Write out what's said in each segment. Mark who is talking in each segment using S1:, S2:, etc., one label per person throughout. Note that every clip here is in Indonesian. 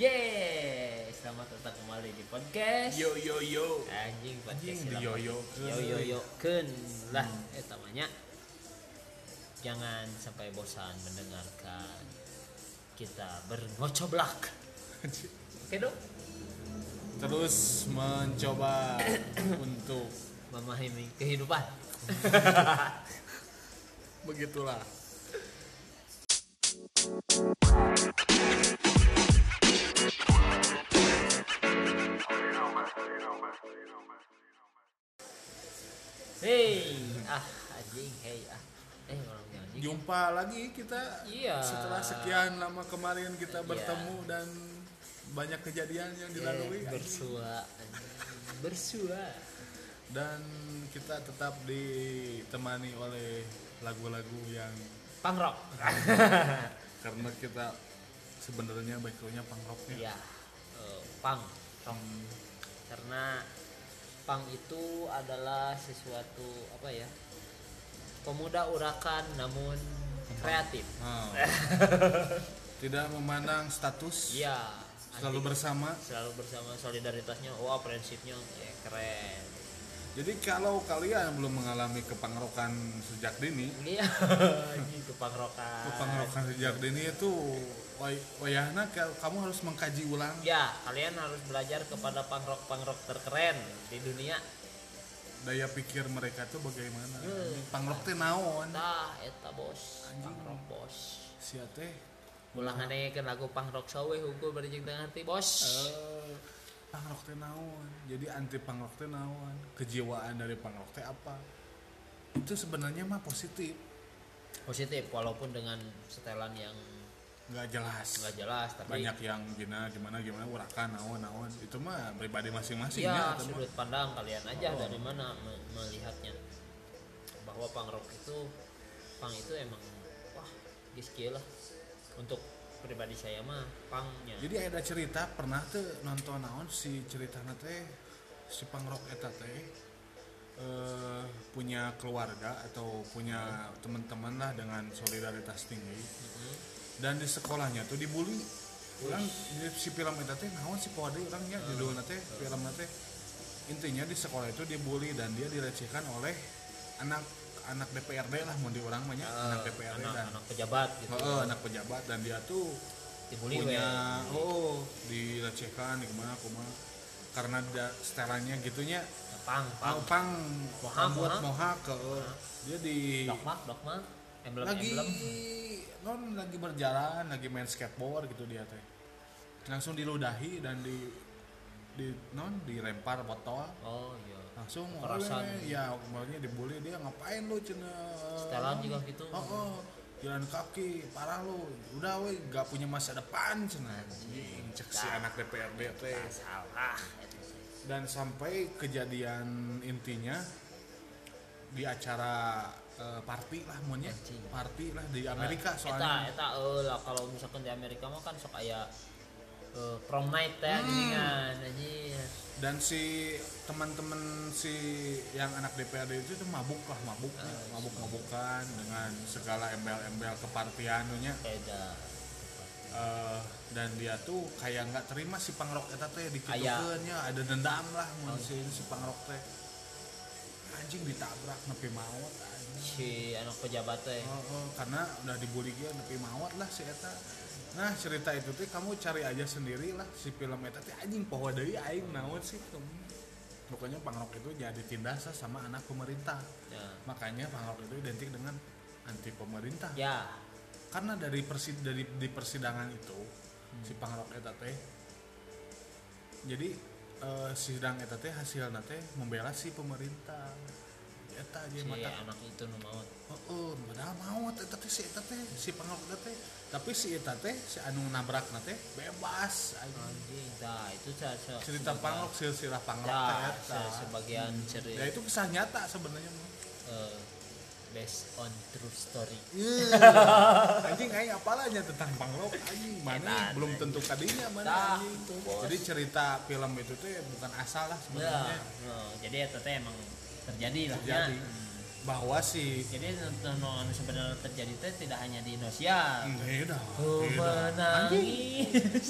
S1: Yeay, selamat datang kembali di podcast.
S2: Yo yo yo.
S1: Anjing podcast
S2: Anjing, di
S1: sila-
S2: yoyokeun.
S1: Yo yo yo keun lah eta mah nya. Jangan sampai bosan mendengarkan kita bergocoblak. Oke dong.
S2: Terus mencoba untuk
S1: Memahami kehidupan.
S2: begitulah.
S1: Hey, ah anjing, hey ah. Eh orangnya anjing.
S2: Jumpa lagi kita
S1: Iya.
S2: setelah sekian lama kemarin kita
S1: Iya.
S2: bertemu dan banyak kejadian yang
S1: Yeah,
S2: dilalui
S1: bersua anjing. bersua
S2: dan kita tetap ditemani oleh lagu-lagu yang
S1: pangrok
S2: karena kita sebenarnya backgroundnya punk rocknya.
S1: ya eh, pang
S2: Punk.
S1: karena pang itu adalah sesuatu apa ya pemuda urakan namun kreatif
S2: Nah. Tidak memandang status,
S1: ya
S2: selalu
S1: anjing.
S2: bersama.
S1: selalu bersama solidaritasnya wah prinsipnya ya, keren
S2: Jadi kalau kalian belum mengalami kepangrokan sejak dini,
S1: iya anjing kepangrokan
S2: kepangrokan sejak dini itu way- wayahna ke- kamu harus mengkaji ulang
S1: ya kalian harus belajar kepada pangrok pangrok terkeren di dunia
S2: daya pikir mereka tuh bagaimana.
S1: Hmm.
S2: Pangrok teh naon?
S1: nah eta bos
S2: Anjing.
S1: pangrok bos
S2: Sia teh
S1: ulah ngadengekeun lagu pangrok sawe hukum bari jeung teu ngarti bos
S2: eh, pangrok teh naon? Jadi anti pangrok teh naon? Kejiwaan dari pangrok teh apa? Itu sebenarnya mah positif,
S1: positif walaupun dengan setelan yang
S2: nggak jelas.
S1: nggak jelas tapi
S2: Banyak yang gimana gimana gimana urakan naon naon itu mah pribadi masing-masing
S1: ya
S2: atau mah.
S1: sudut pandang kalian aja dari mana me- melihatnya bahwa pangrok itu pang itu emang wah geus kieu lah untuk pribadi saya mah pangnya
S2: jadi ada cerita pernah tuh nonton naon si cerita teh si pangrok eta teh eh, punya keluarga atau punya teman-teman lah dengan solidaritas tinggi
S1: Mhm.
S2: dan di sekolahnya tuh dibully orang di- si film eta teh naon si pode orangnya judulnya teh filmnya teh intinya di sekolah itu dibully dan dia dilecehkan oleh anak anak DPRD lah mau di orang banyak anak DPRD dan
S1: Eh, anak, anak pejabat gitu
S2: Heeh, anak pejabat dan dia tuh
S1: dibully we.
S2: punya
S1: Nah,
S2: oh dilecehkan di kemana kumaha karena da, setelannya gitunya
S1: pang pang
S2: pang
S1: Moha,
S2: buat
S1: moha.
S2: moha ke dia di
S1: dokmak dokmak emblem
S2: lagi
S1: emblem
S2: non lagi berjalan lagi main skateboard gitu dia teh langsung diludahi dan di di non dilempar botol
S1: oh iya
S2: langsung
S1: Kekerasan.
S2: oleh, ya kemarinnya dibully dia ngapain lu cina
S1: setelan juga gitu
S2: oh, oh, jalan kaki parah lu udah weh gak punya masa depan cina anjing cek si anak DPRD teh
S1: salah itu sih.
S2: dan sampai kejadian intinya di acara eh, party lah maunya
S1: Anjing.
S2: party lah di Amerika
S1: eta
S2: soalnya
S1: eta eulah kalau misalkan di Amerika mah kan sok aya eh, prom night teh
S2: Hmm.
S1: geuningan anjing
S2: dan si teman-teman si yang anak DPRD itu tuh mabuk lah mabuk
S1: Ah,
S2: mabuk-mabukan dengan segala embel-embel ya. kepartiannya
S1: beda
S2: Eh, dan dia tuh kayak nggak terima si pangrok eta teh
S1: Aya.
S2: dikitukeunnya ada dendam lah mun si, si pangrok teh anjing ditabrak nepi maut anjing
S1: si anak pejabat eh. teh
S2: Oh, oh, karena udah dibully dia nepi maut lah si eta nah cerita itu teh kamu cari aja sendiri lah si film eta teh anjing poho deui aing naon sih tum. pokoknya pangrok itu jadi tindas lah sama anak pemerintah
S1: ya
S2: makanya pangrok itu identik dengan anti pemerintah
S1: ya
S2: karena dari persid dari di persidangan itu
S1: Hmm.
S2: si pangrok eta teh jadi eh, sidang eta teh hasilna teh membela si pemerintah eta aja
S1: si
S2: mata
S1: anak itu nu maut
S2: oh, padahal mau eta teh si eta teh si pangrok eta teh tapi si eta teh si anu nabrak teh bebas anjing.
S1: anjing tah itu sa- sa-
S2: cerita
S1: sebagian-
S2: pangrok silsilah pangrok
S1: Ya,
S2: teh eta
S1: se- sebagian cerita
S2: ya itu kisah nyata sebenarnya mah.
S1: eh, based on true story
S2: Hmm. anjing aing apalanya tentang pangrok anjing
S1: Edan,
S2: mana belum tentu kadinya
S1: Tah,
S2: mana anjing
S1: itu, bos.
S2: jadi cerita film itu tuh ya bukan asal lah
S1: ya
S2: sebenarnya
S1: eh, jadi eta teh emang terjadi lah ya
S2: jadi bahwa si
S1: jadi nu- nu anu sebenarnya terjadi teh tidak hanya di Indonesia
S2: beda
S1: ku
S2: Iya,
S1: menangis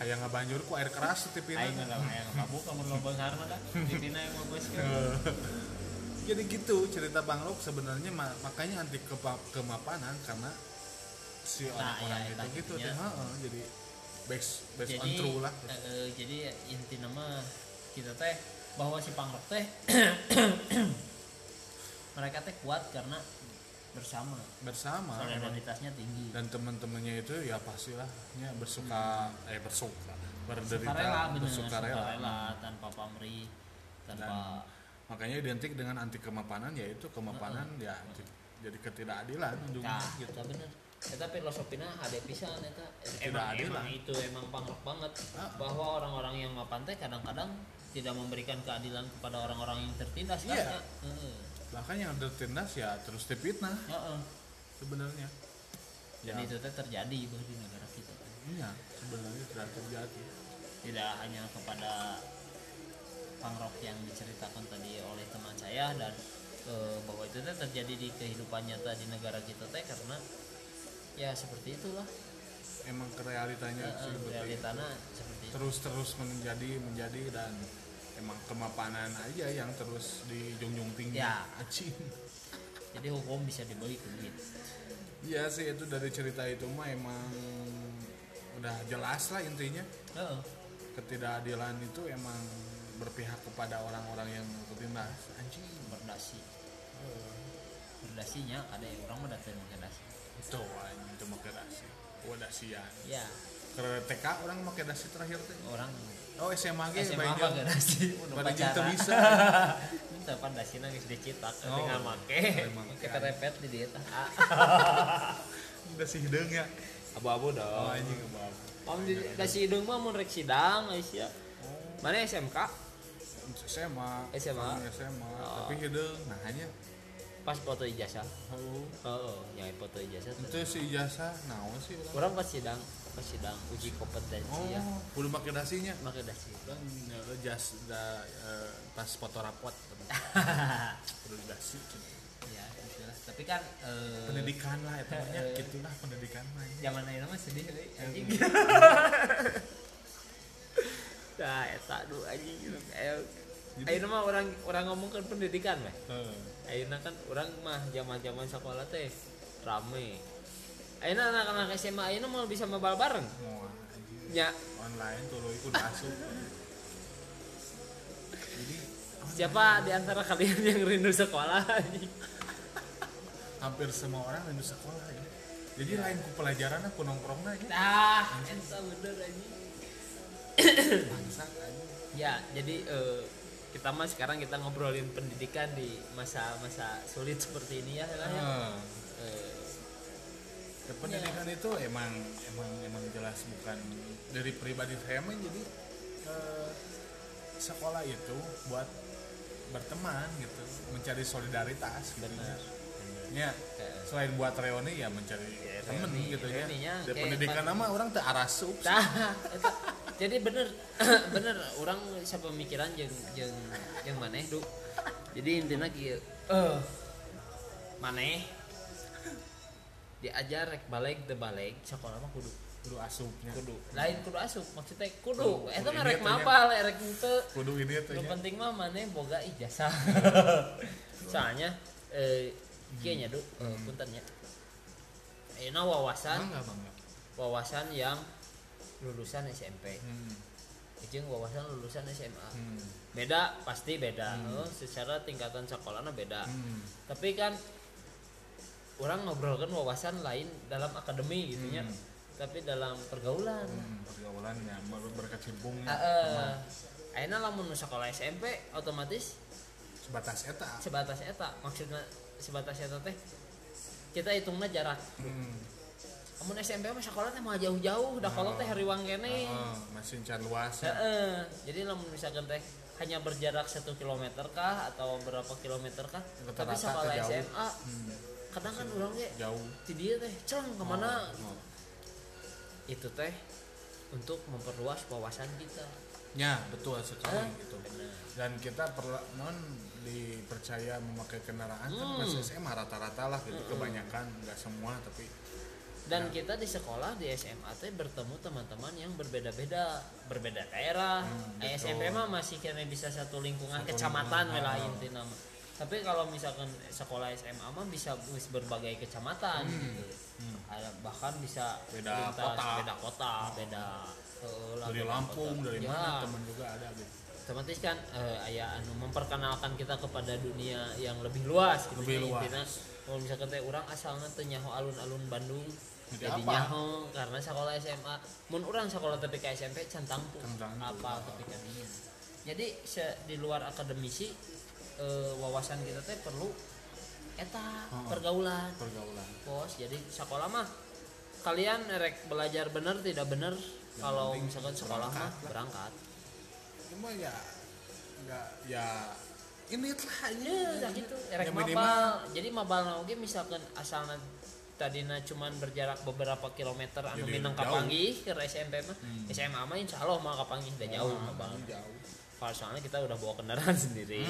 S2: kayak ngebanjur ku air keras teh pina.
S1: aing mah aing mabuk kamu lo benghar mah dah titina yang mau bos
S2: jadi gitu cerita Bang Lok sebenarnya ma- makanya anti kepa- kemapanan karena si
S1: Nah,
S2: orang-orang
S1: iya,
S2: itu
S1: iya,
S2: gitu
S1: iya.
S2: teh heeh, jadi based based on
S1: jadi
S2: true lah
S1: eh, eh, jadi inti nama kita teh bahwa si pangrok teh mereka teh kuat karena bersama
S2: bersama
S1: solidaritasnya tinggi
S2: dan teman-temannya itu ya pastilah ya bersuka eh bersuka berderita
S1: sukarela bener
S2: bersukarela.
S1: sukarela tanpa pamrih tanpa
S2: makanya identik dengan anti kemapanan yaitu kemapanan ya anti- jadi ketidakadilan ujungnya
S1: nah
S2: gitu.
S1: kita bener eta filosofinya ada pisan eta
S2: Tidak
S1: emang,
S2: adil
S1: emang
S2: lah.
S1: itu emang pangrok banget
S2: Ah.
S1: bahwa orang-orang yang mapan teh kadang-kadang tidak memberikan keadilan kepada orang-orang yang tertindas kan
S2: Iya.
S1: ya? Heeh.
S2: bahkan yang tertindas ya terus dipitnah
S1: Heeh.
S2: sebenarnya Ya,
S1: dan itu teh terjadi bah, di negara kita
S2: iya sebenarnya sudah terjadi
S1: tidak hanya kepada pangrok yang diceritakan tadi oleh teman saya dan eh, bahwa itu teh terjadi di kehidupan nyata di negara kita teh karena ya seperti itulah
S2: emang
S1: Eh, eh,
S2: kerealitanya Ya, seperti itu.
S1: realitana seperti itu
S2: terus terus menjadi menjadi dan emang kemapanan aja yang terus dijunjung tinggi
S1: Ya.
S2: Acing.
S1: jadi hukum bisa dibagi ke begitu
S2: iya sih itu dari cerita itu mah emang udah jelas lah intinya
S1: Heeh.
S2: ketidakadilan itu emang berpihak kepada orang-orang yang tertindas anjing
S1: berdasi berdasinya ada yang orang mendatang berdasi
S2: itu anjing itu make dasi wadah sian
S1: ya
S2: ke TK orang make dasi terakhir teh
S1: orang
S2: oh SMA ge
S1: SMA
S2: banyak.
S1: apa berdasi udah
S2: Bari jeung teu
S1: pacaran
S2: bisa
S1: minta pandasi nangis dicetak
S2: Oh.
S1: dengan make
S2: Make.
S1: kita repet di dieta
S2: udah sih hideung ya
S1: abu-abu
S2: oh
S1: dong
S2: anjing kebab
S1: iya. Om di kasih hidung mah mun rek sidang guys ya. Mana SMK?
S2: SMA
S1: SMA.
S2: Orang SMA
S1: Oh.
S2: tapi hideung nah hanya
S1: Pas foto ijazah.
S2: oh.
S1: Heeh, yang foto ijazah.
S2: itu
S1: tuh.
S2: si ijazah naon sih urang
S1: Orang pas sidang, pas sidang uji kompetensi ya.
S2: oh kudu make dasinya
S1: Make dasi.
S2: kan ya, lo jas da, eh, pas foto rapot kudu dasi gitu.
S1: ya, gitu lah. Tapi kan eh,
S2: pendidikan lah ya temennya
S1: Eh.
S2: gitulah pendidikan lah ya.
S1: zaman ayeuna mah sedih euy
S2: Iya,
S1: anjing. Dah, eta duh anjing. Ayo.
S2: Gitu.
S1: Ayeuna mah orang orang ngomongkan pendidikan mah.
S2: Heeh.
S1: Ayeuna kan orang mah zaman-zaman sekolah teh rame. Ayeuna anak-anak SMA ayeuna mau bisa mabal bareng.
S2: Wah, anjir.
S1: Ya,
S2: online tuh lo ikut masuk jadi
S1: siapa di antara kalian yang rindu sekolah?
S2: hampir semua orang rindu sekolah ya jadi lain ku pelajaran aku nongkrong ya. aja
S1: Dah, eta bener anjing.
S2: bangsa aja
S1: Ya, jadi eh, kita mah sekarang kita ngobrolin pendidikan di masa-masa sulit seperti ini ya. Hela, ya.
S2: Eh,
S1: Eh,
S2: ya, pendidikan itu emang emang emang jelas bukan dari pribadi saya mah jadi eh, sekolah itu buat berteman gitu mencari solidaritas gitu
S1: Benar.
S2: ya
S1: eh,
S2: selain buat reuni ya mencari ya,
S1: Iya,
S2: temen
S1: Reuni,
S2: gitu ya
S1: reuni nya,
S2: di
S1: kayak
S2: pendidikan
S1: pas-
S2: nama orang teh arasup sih.
S1: Tah, eta. jadi bener bener orang siapa pemikiran jeung jeung jeung maneh du. Jadi intinya kieu. Eh maneh diajar rek balik teu balik sakola mah kudu
S2: kudu asupnya
S1: kudu lain kudu asup maksudnya kudu
S2: Kudu.
S1: eta mah
S2: Ini
S1: rek
S2: teh nya.
S1: mapal eh, rek henteu
S2: kudu ini tuh
S1: nu
S2: ya
S1: penting mah maneh boga ijazah soalnya eh kieu nya du eh, punten nya ayeuna wawasan
S2: bangga bangga
S1: wawasan yang lulusan SMP
S2: hmm.
S1: jeung wawasan lulusan SMA
S2: Hmm.
S1: beda pasti beda Heuh, secara tingkatan sekolahnya beda
S2: Hmm.
S1: tapi kan orang ngobrolkan wawasan lain dalam akademi gitu nya
S2: Hmm.
S1: tapi dalam pergaulan
S2: Hmm. pergaulan ya ber- berkecimpung
S1: Ah, eh, ayeuna lamun nu sekolah SMP otomatis
S2: sebatas eta
S1: sebatas eta maksudnya sebatas eta teh kita hitungnya jarak
S2: hmm.
S1: namun SMP mah sekolah teh mah jauh-jauh dah kalau
S2: Ah.
S1: teh hariwang kene
S2: Heeh, masih can luas ya.
S1: Heeh. jadi lamun misalkan teh hanya berjarak satu kilometer kah atau berapa kilometer kah tapi
S2: Rata-rata
S1: sekolah
S2: teh jauh.
S1: SMA
S2: Hmm.
S1: kadang kan orang ge
S2: jauh
S1: ti dieu teh celang kemana
S2: Oh, oh.
S1: itu teh untuk memperluas wawasan kita
S2: Ya betul sekali
S1: Hah?
S2: gitu.
S1: Bener.
S2: Dan kita perla non dipercaya memakai kendaraan kan
S1: Hmm.
S2: pas SMA rata-rata lah gitu kebanyakan nggak semua tapi
S1: dan kita di sekolah di SMA teh bertemu teman-teman yang berbeda-beda berbeda daerah
S2: Hmm,
S1: Eh,
S2: betul.
S1: SMP mah masih kayaknya bisa satu lingkungan
S2: Satu
S1: kecamatan
S2: lingkungan,
S1: wilayah
S2: ah.
S1: inti nama tapi kalau misalkan sekolah SMA mah bisa wis berbagai kecamatan gitu Ada, bahkan bisa
S2: Hmm. Beda kota.
S1: beda kota beda eh, lah,
S2: dari
S1: beda
S2: Lampung
S1: kota.
S2: dari
S1: Ya,
S2: mana teman juga ada gitu.
S1: otomatis kan eh, aya anu memperkenalkan kita kepada dunia yang lebih luas gitu
S2: Lebih luas.
S1: intinya kalau misalkan teh urang asalnya teh nyaho alun-alun Bandung
S2: Jadi
S1: jadi,
S2: apa?
S1: nyaho karena sekolah SMA mun urang sekolah tapi ke SMP centang tuh
S2: Centang tuh.
S1: apa tapi ka dieu. jadi se- di luar akademisi eh, wawasan kita teh perlu eta
S2: Heeh.
S1: pergaulan
S2: pergaulan.
S1: bos jadi sekolah mah kalian rek belajar bener tidak bener kalau
S2: penting
S1: misalkan sekolah mah
S2: berangkat
S1: berangkat
S2: lah. Cuma ya nggak ya ini lah ya.
S1: Iya, dah gitu. Erek
S2: Yang minimal.
S1: mabal. Jadi mabal na oge misalkan asalna tadina cuman berjarak beberapa kilometer anu
S2: Jadi
S1: minang
S2: jauh.
S1: Kapanggih ke SMP mah.
S2: Hmm.
S1: SMA mah insyaallah mah Kapanggih udah jauh mabal.
S2: jauh.
S1: Kalau soalnya kita udah bawa kendaraan sendiri.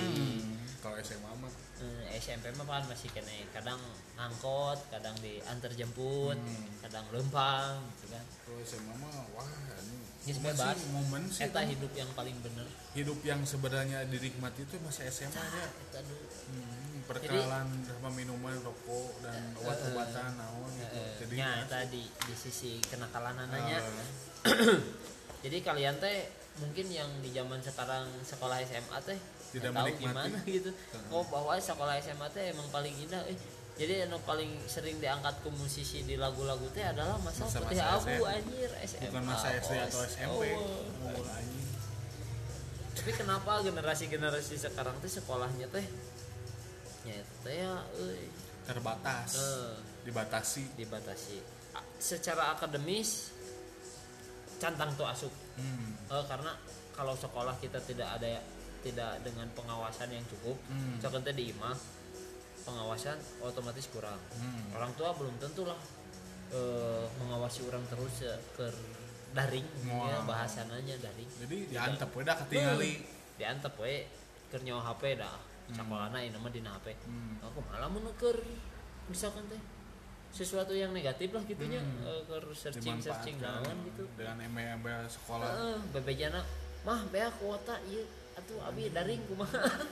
S2: Kalau SMA mah
S1: Eh, SMP mah kan masih kena kadang angkot, kadang diantar jemput,
S2: Hmm.
S1: kadang lempang gitu kan.
S2: kalau SMA mah wah ini
S1: Yes,
S2: momen
S1: bebas.
S2: sih, momen sih
S1: Eta hidup yang paling bener.
S2: hidup yang sebenarnya dinikmati itu masih SMA ya.
S1: Eta dulu.
S2: Hmm, perkenalan sama minuman rokok dan obat-obatan naon gitu. Jadi
S1: Eh, Nya eta di, di sisi kenakalan anaknya.
S2: eh,
S1: Jadi kalian teh mungkin yang di zaman sekarang sekolah SMA teh
S2: Tidak
S1: nggak
S2: menikmati.
S1: gimana gitu.
S2: Heeh.
S1: Oh bahwa sekolah SMA teh emang paling indah. Eh, jadi yang paling sering diangkat ke musisi di lagu-lagu teh adalah masa,
S2: Masa-masa
S1: putih abu
S2: SMA.
S1: anjir SMA.
S2: bukan masa SD atau
S1: bos.
S2: SMP.
S1: Oh.
S2: Umur anjing.
S1: Tapi kenapa generasi-generasi sekarang teh sekolahnya teh ya itu teh ya euy,
S2: terbatas.
S1: Eh.
S2: Dibatasi.
S1: dibatasi. A- Secara akademis cantang tuh asup
S2: Hmm.
S1: Eh, karena kalau sekolah kita tidak ada ya, tidak dengan pengawasan yang cukup
S2: Hmm.
S1: misalkan teh di imah pengawasan otomatis kurang
S2: Hmm.
S1: orang tua belum tentulah eh, mengawasi orang terus ya, ke daring
S2: Wow.
S1: ya, bahasananya daring
S2: Jadi ya diantep we dah ketingali.
S1: diantep we keur nyawa HP dah sakolana ieu mah dina HP
S2: Hmm.
S1: aku malah menukar misalkan teh sesuatu yang negatif lah gitunya eh, keur searching searching
S2: Hmm. Dimanfaatkan
S1: naon gitu
S2: dengan embel-embel sekolah.
S1: Heeh, bebejana mah bea kuota ieu atuh abi daring kumaha.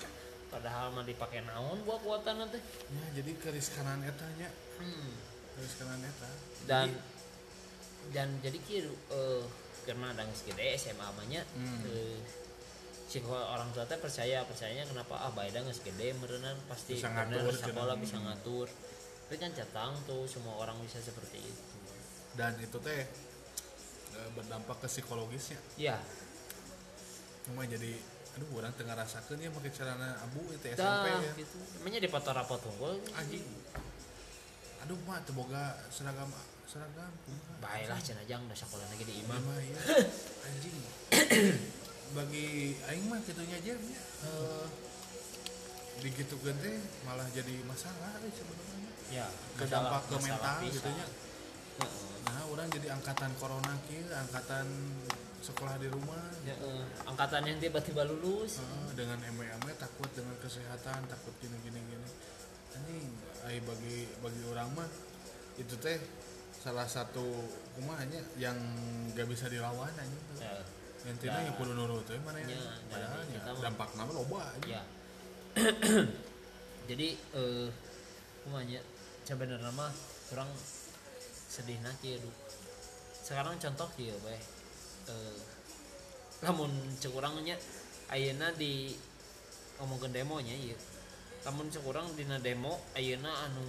S1: Padahal mah dipake naon buat kuota nanti.
S2: Ya, jadi keriskanan eta nya,
S1: Hmm.
S2: keriskanan eta.
S1: Dan
S2: Jadi,
S1: dan jadi kieu eh karena ada geus gede SMA banyak
S2: Hmm.
S1: eh, si ko- orang tua teh percaya percayanya kenapa ah bae geus gede meureunna pasti
S2: Bisa
S1: bener
S2: ngatur,
S1: sekolah
S2: cenah.
S1: bisa ngatur. Tapi kan catang tuh semua orang bisa seperti itu.
S2: dan itu teh eh, berdampak ke psikologisnya.
S1: Ya,
S2: Cuma jadi aduh orang tengah rasakan ya pakai celana abu itu SMP
S1: dah
S2: ya.
S1: gitu. Namanya di foto rapot unggul.
S2: Anjing. Aduh mah teu boga seragam seragam. kumaha.
S1: Baiklah cenah jang da sekolah lagi di imam.
S2: Mama ya. Anjing. Bagi aing mah kitunya aja ya. Eh, digitu gente malah jadi masalah eh, sebenarnya.
S1: Ya,
S2: Kedampak
S1: masalah-
S2: ke
S1: masalah
S2: mental
S1: pisan.
S2: gitu nya.
S1: Heeh.
S2: Nah, orang jadi angkatan corona kieu, angkatan sekolah di rumah.
S1: Ya, eh, angkatan yang tiba-tiba lulus
S2: Heeh, Eh, dengan MBM takut dengan kesehatan takut gini gini gini anjing ai bagi bagi orang mah itu teh salah satu kumahnya yang gak bisa dilawan anjing tuh.
S1: ya,
S2: yang tina
S1: Ya.
S2: yang perlu nurut teh mana ya
S1: Ya,
S2: padahal
S1: jadi
S2: ya
S1: kita mah-
S2: dampak nama loba aja
S1: ya. jadi eh kumanya sebenarnya mah kurang sedih nanti aduh sekarang contoh dia weh eh namun cekurangnya ayeuna di ngomongkeun demonya iya namun cekurang dina demo ayeuna anu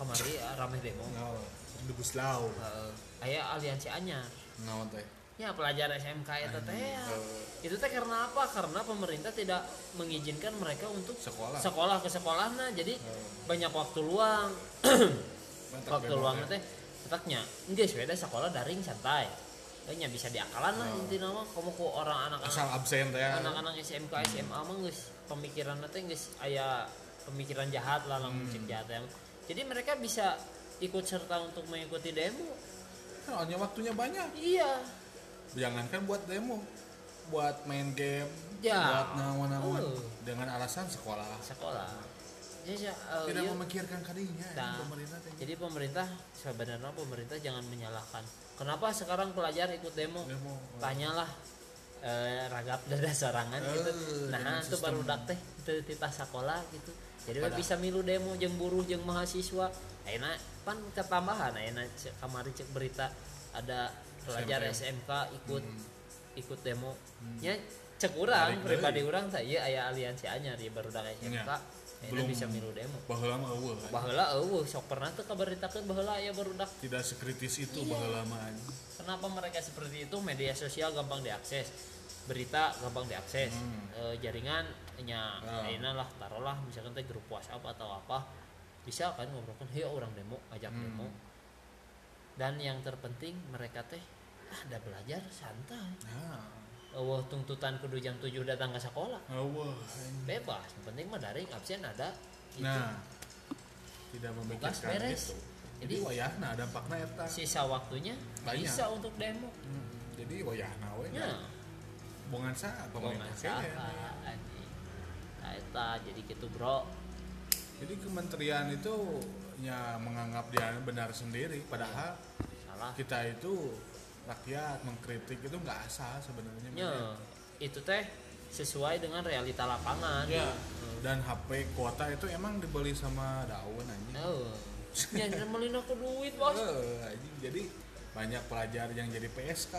S1: kamari rame demo
S2: ngau debus lau
S1: Heeh. aya Eh, aliansi anyar
S2: ngau teh
S1: ya pelajar SMK itu teh ya. itu teh karena apa karena pemerintah tidak mengizinkan mereka untuk
S2: Sekolah. Eh,
S1: sekolah ke sekolah nah jadi banyak waktu luang
S2: Mantap ya.
S1: waktu
S2: memang,
S1: luang
S2: teh.
S1: teh tetapnya enggak sepeda sekolah daring santai kayaknya bisa diakalan lah
S2: Oh.
S1: intinya mah kamu ku orang anak-anak
S2: asal absen teh ya.
S1: anak-anak SMK SMA mah geus pemikiranna teh geus aya pemikiran jahat lah langsung
S2: Hmm.
S1: cek jahat yang jadi mereka bisa ikut serta untuk mengikuti demo
S2: soalnya waktunya banyak
S1: Iya.
S2: jangankan buat demo buat main game
S1: Ya.
S2: buat nawan-nawan
S1: Oh.
S2: dengan alasan sekolah
S1: sekolah jadi ya, eh,
S2: tidak
S1: iya.
S2: memikirkan kadinya
S1: Nah,
S2: pemerintah teh.
S1: jadi pemerintah sebenarnya pemerintah jangan menyalahkan kenapa sekarang pelajar ikut demo
S2: demo
S1: tanyalah eh, ragap dada sorangan gitu
S2: Eh, dengan
S1: nah itu
S2: sistem.
S1: baru teh itu titah sekolah gitu jadi we
S2: Padahal.
S1: bisa milu demo jeung buruh jeung mahasiswa enak pan ketambahan enak kamari cek berita ada pelajar SMK ikut
S2: Hmm.
S1: ikut demo nya cek urang
S2: Balik
S1: pribadi
S2: deui.
S1: urang teh ieu aya aliansi anyar di barudak SMK
S2: Nya.
S1: enak
S2: Belum.
S1: bisa milu demo
S2: baheula mah eueuh, anjing.
S1: baheula eueuh sok pernah teu kabaritakeun baheula aya barudak
S2: tidak sekritis itu
S1: Iya.
S2: baheula mah anjing.
S1: kenapa mereka seperti itu media sosial gampang diakses berita gampang diakses E, jaringan nya
S2: Hmm. Ah.
S1: enak lah taruhlah misalkan teh grup WhatsApp atau apa bisa kan ngobrolkan hey orang demo ajak
S2: Hmm.
S1: demo dan yang terpenting mereka teh "Ah, ada belajar santai
S2: nah
S1: Eueuh tuntutan kudu jam 7 datang ke sekolah
S2: eueuh, anjing.
S1: bebas yang penting mah daring absen ada gitu.
S2: nah tidak
S1: Tugas
S2: memikirkan
S1: beres.
S2: itu jadi
S1: Jadi-
S2: wayahna dampakna eta
S1: sisa waktunya
S2: Banyak.
S1: bisa untuk demo
S2: Hmm, jadi wayahna we
S1: ya.
S2: bongan saha pemerintah
S1: Bohongan
S2: kene.
S1: saha, anjing. Nah, eta jadi gitu bro
S2: jadi kementerian itu ya menganggap dia benar sendiri padahal
S1: salah
S2: kita itu rakyat mengkritik itu nggak asal sebenarnya
S1: Nya, itu teh sesuai dengan realita lapangan
S2: Ya. dan HP kuota itu emang dibeli sama daun anjing
S1: oh ya nemelin aku duit bos
S2: Eh, anjing. jadi banyak pelajar yang jadi PSK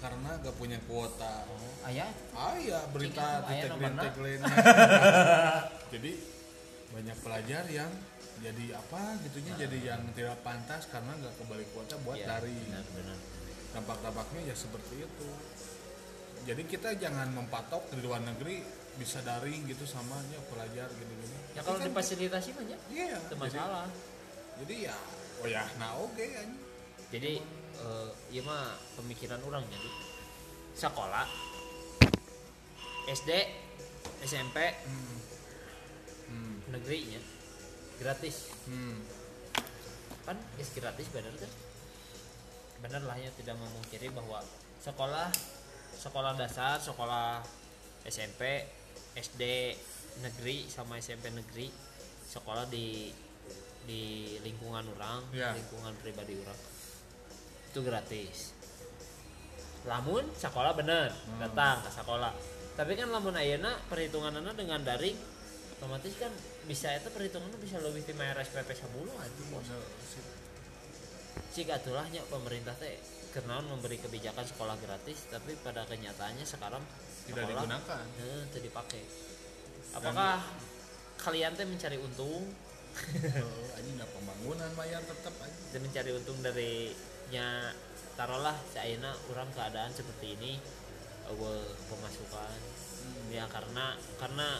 S2: karena gak punya kuota
S1: ayah
S2: ayah berita
S1: Ih, aya nomorna.
S2: titik-titik jadi banyak pelajar yang jadi apa gitunya
S1: Nah.
S2: jadi yang tidak pantas karena nggak kebalik kuota buat
S1: Ya,
S2: dari
S1: benar benar
S2: dampak-dampaknya ya seperti itu jadi kita jangan mempatok di luar negeri bisa daring gitu sama ya pelajar gini-gini
S1: ya kalau
S2: Tapi kan-
S1: difasilitasi banyak
S2: iya
S1: itu
S2: jadi,
S1: masalah
S2: jadi ya oh ya nah oke anjing.
S1: jadi eh ieu mah pemikiran orang jadi sekolah SD SMP
S2: hmm. Hmm.
S1: negerinya gratis
S2: Hmm.
S1: kan is gratis bener kan bener lah ya tidak memungkiri bahwa sekolah sekolah dasar sekolah SMP SD negeri sama SMP negeri sekolah di di lingkungan orang
S2: Ya.
S1: lingkungan pribadi orang itu gratis lamun sekolah bener datang ke sekolah tapi kan lamun ayeuna perhitunganana dengan daring otomatis kan bisa itu perhitungannya bisa lebih tim RSPP sabuluan bos jika tulahnya pemerintah teh kenaon memberi kebijakan sekolah gratis tapi pada kenyataannya sekarang
S2: tidak
S1: sekolah
S2: digunakan
S1: eh, teu dipakai apakah kalian teh mencari untung
S2: Oh, anjing nggak pembangunan mayar tetap aja
S1: dan mencari untung dari nya taruhlah seayeuna orang keadaan seperti ini eueuh pemasukan
S2: Hmm.
S1: ya karena karena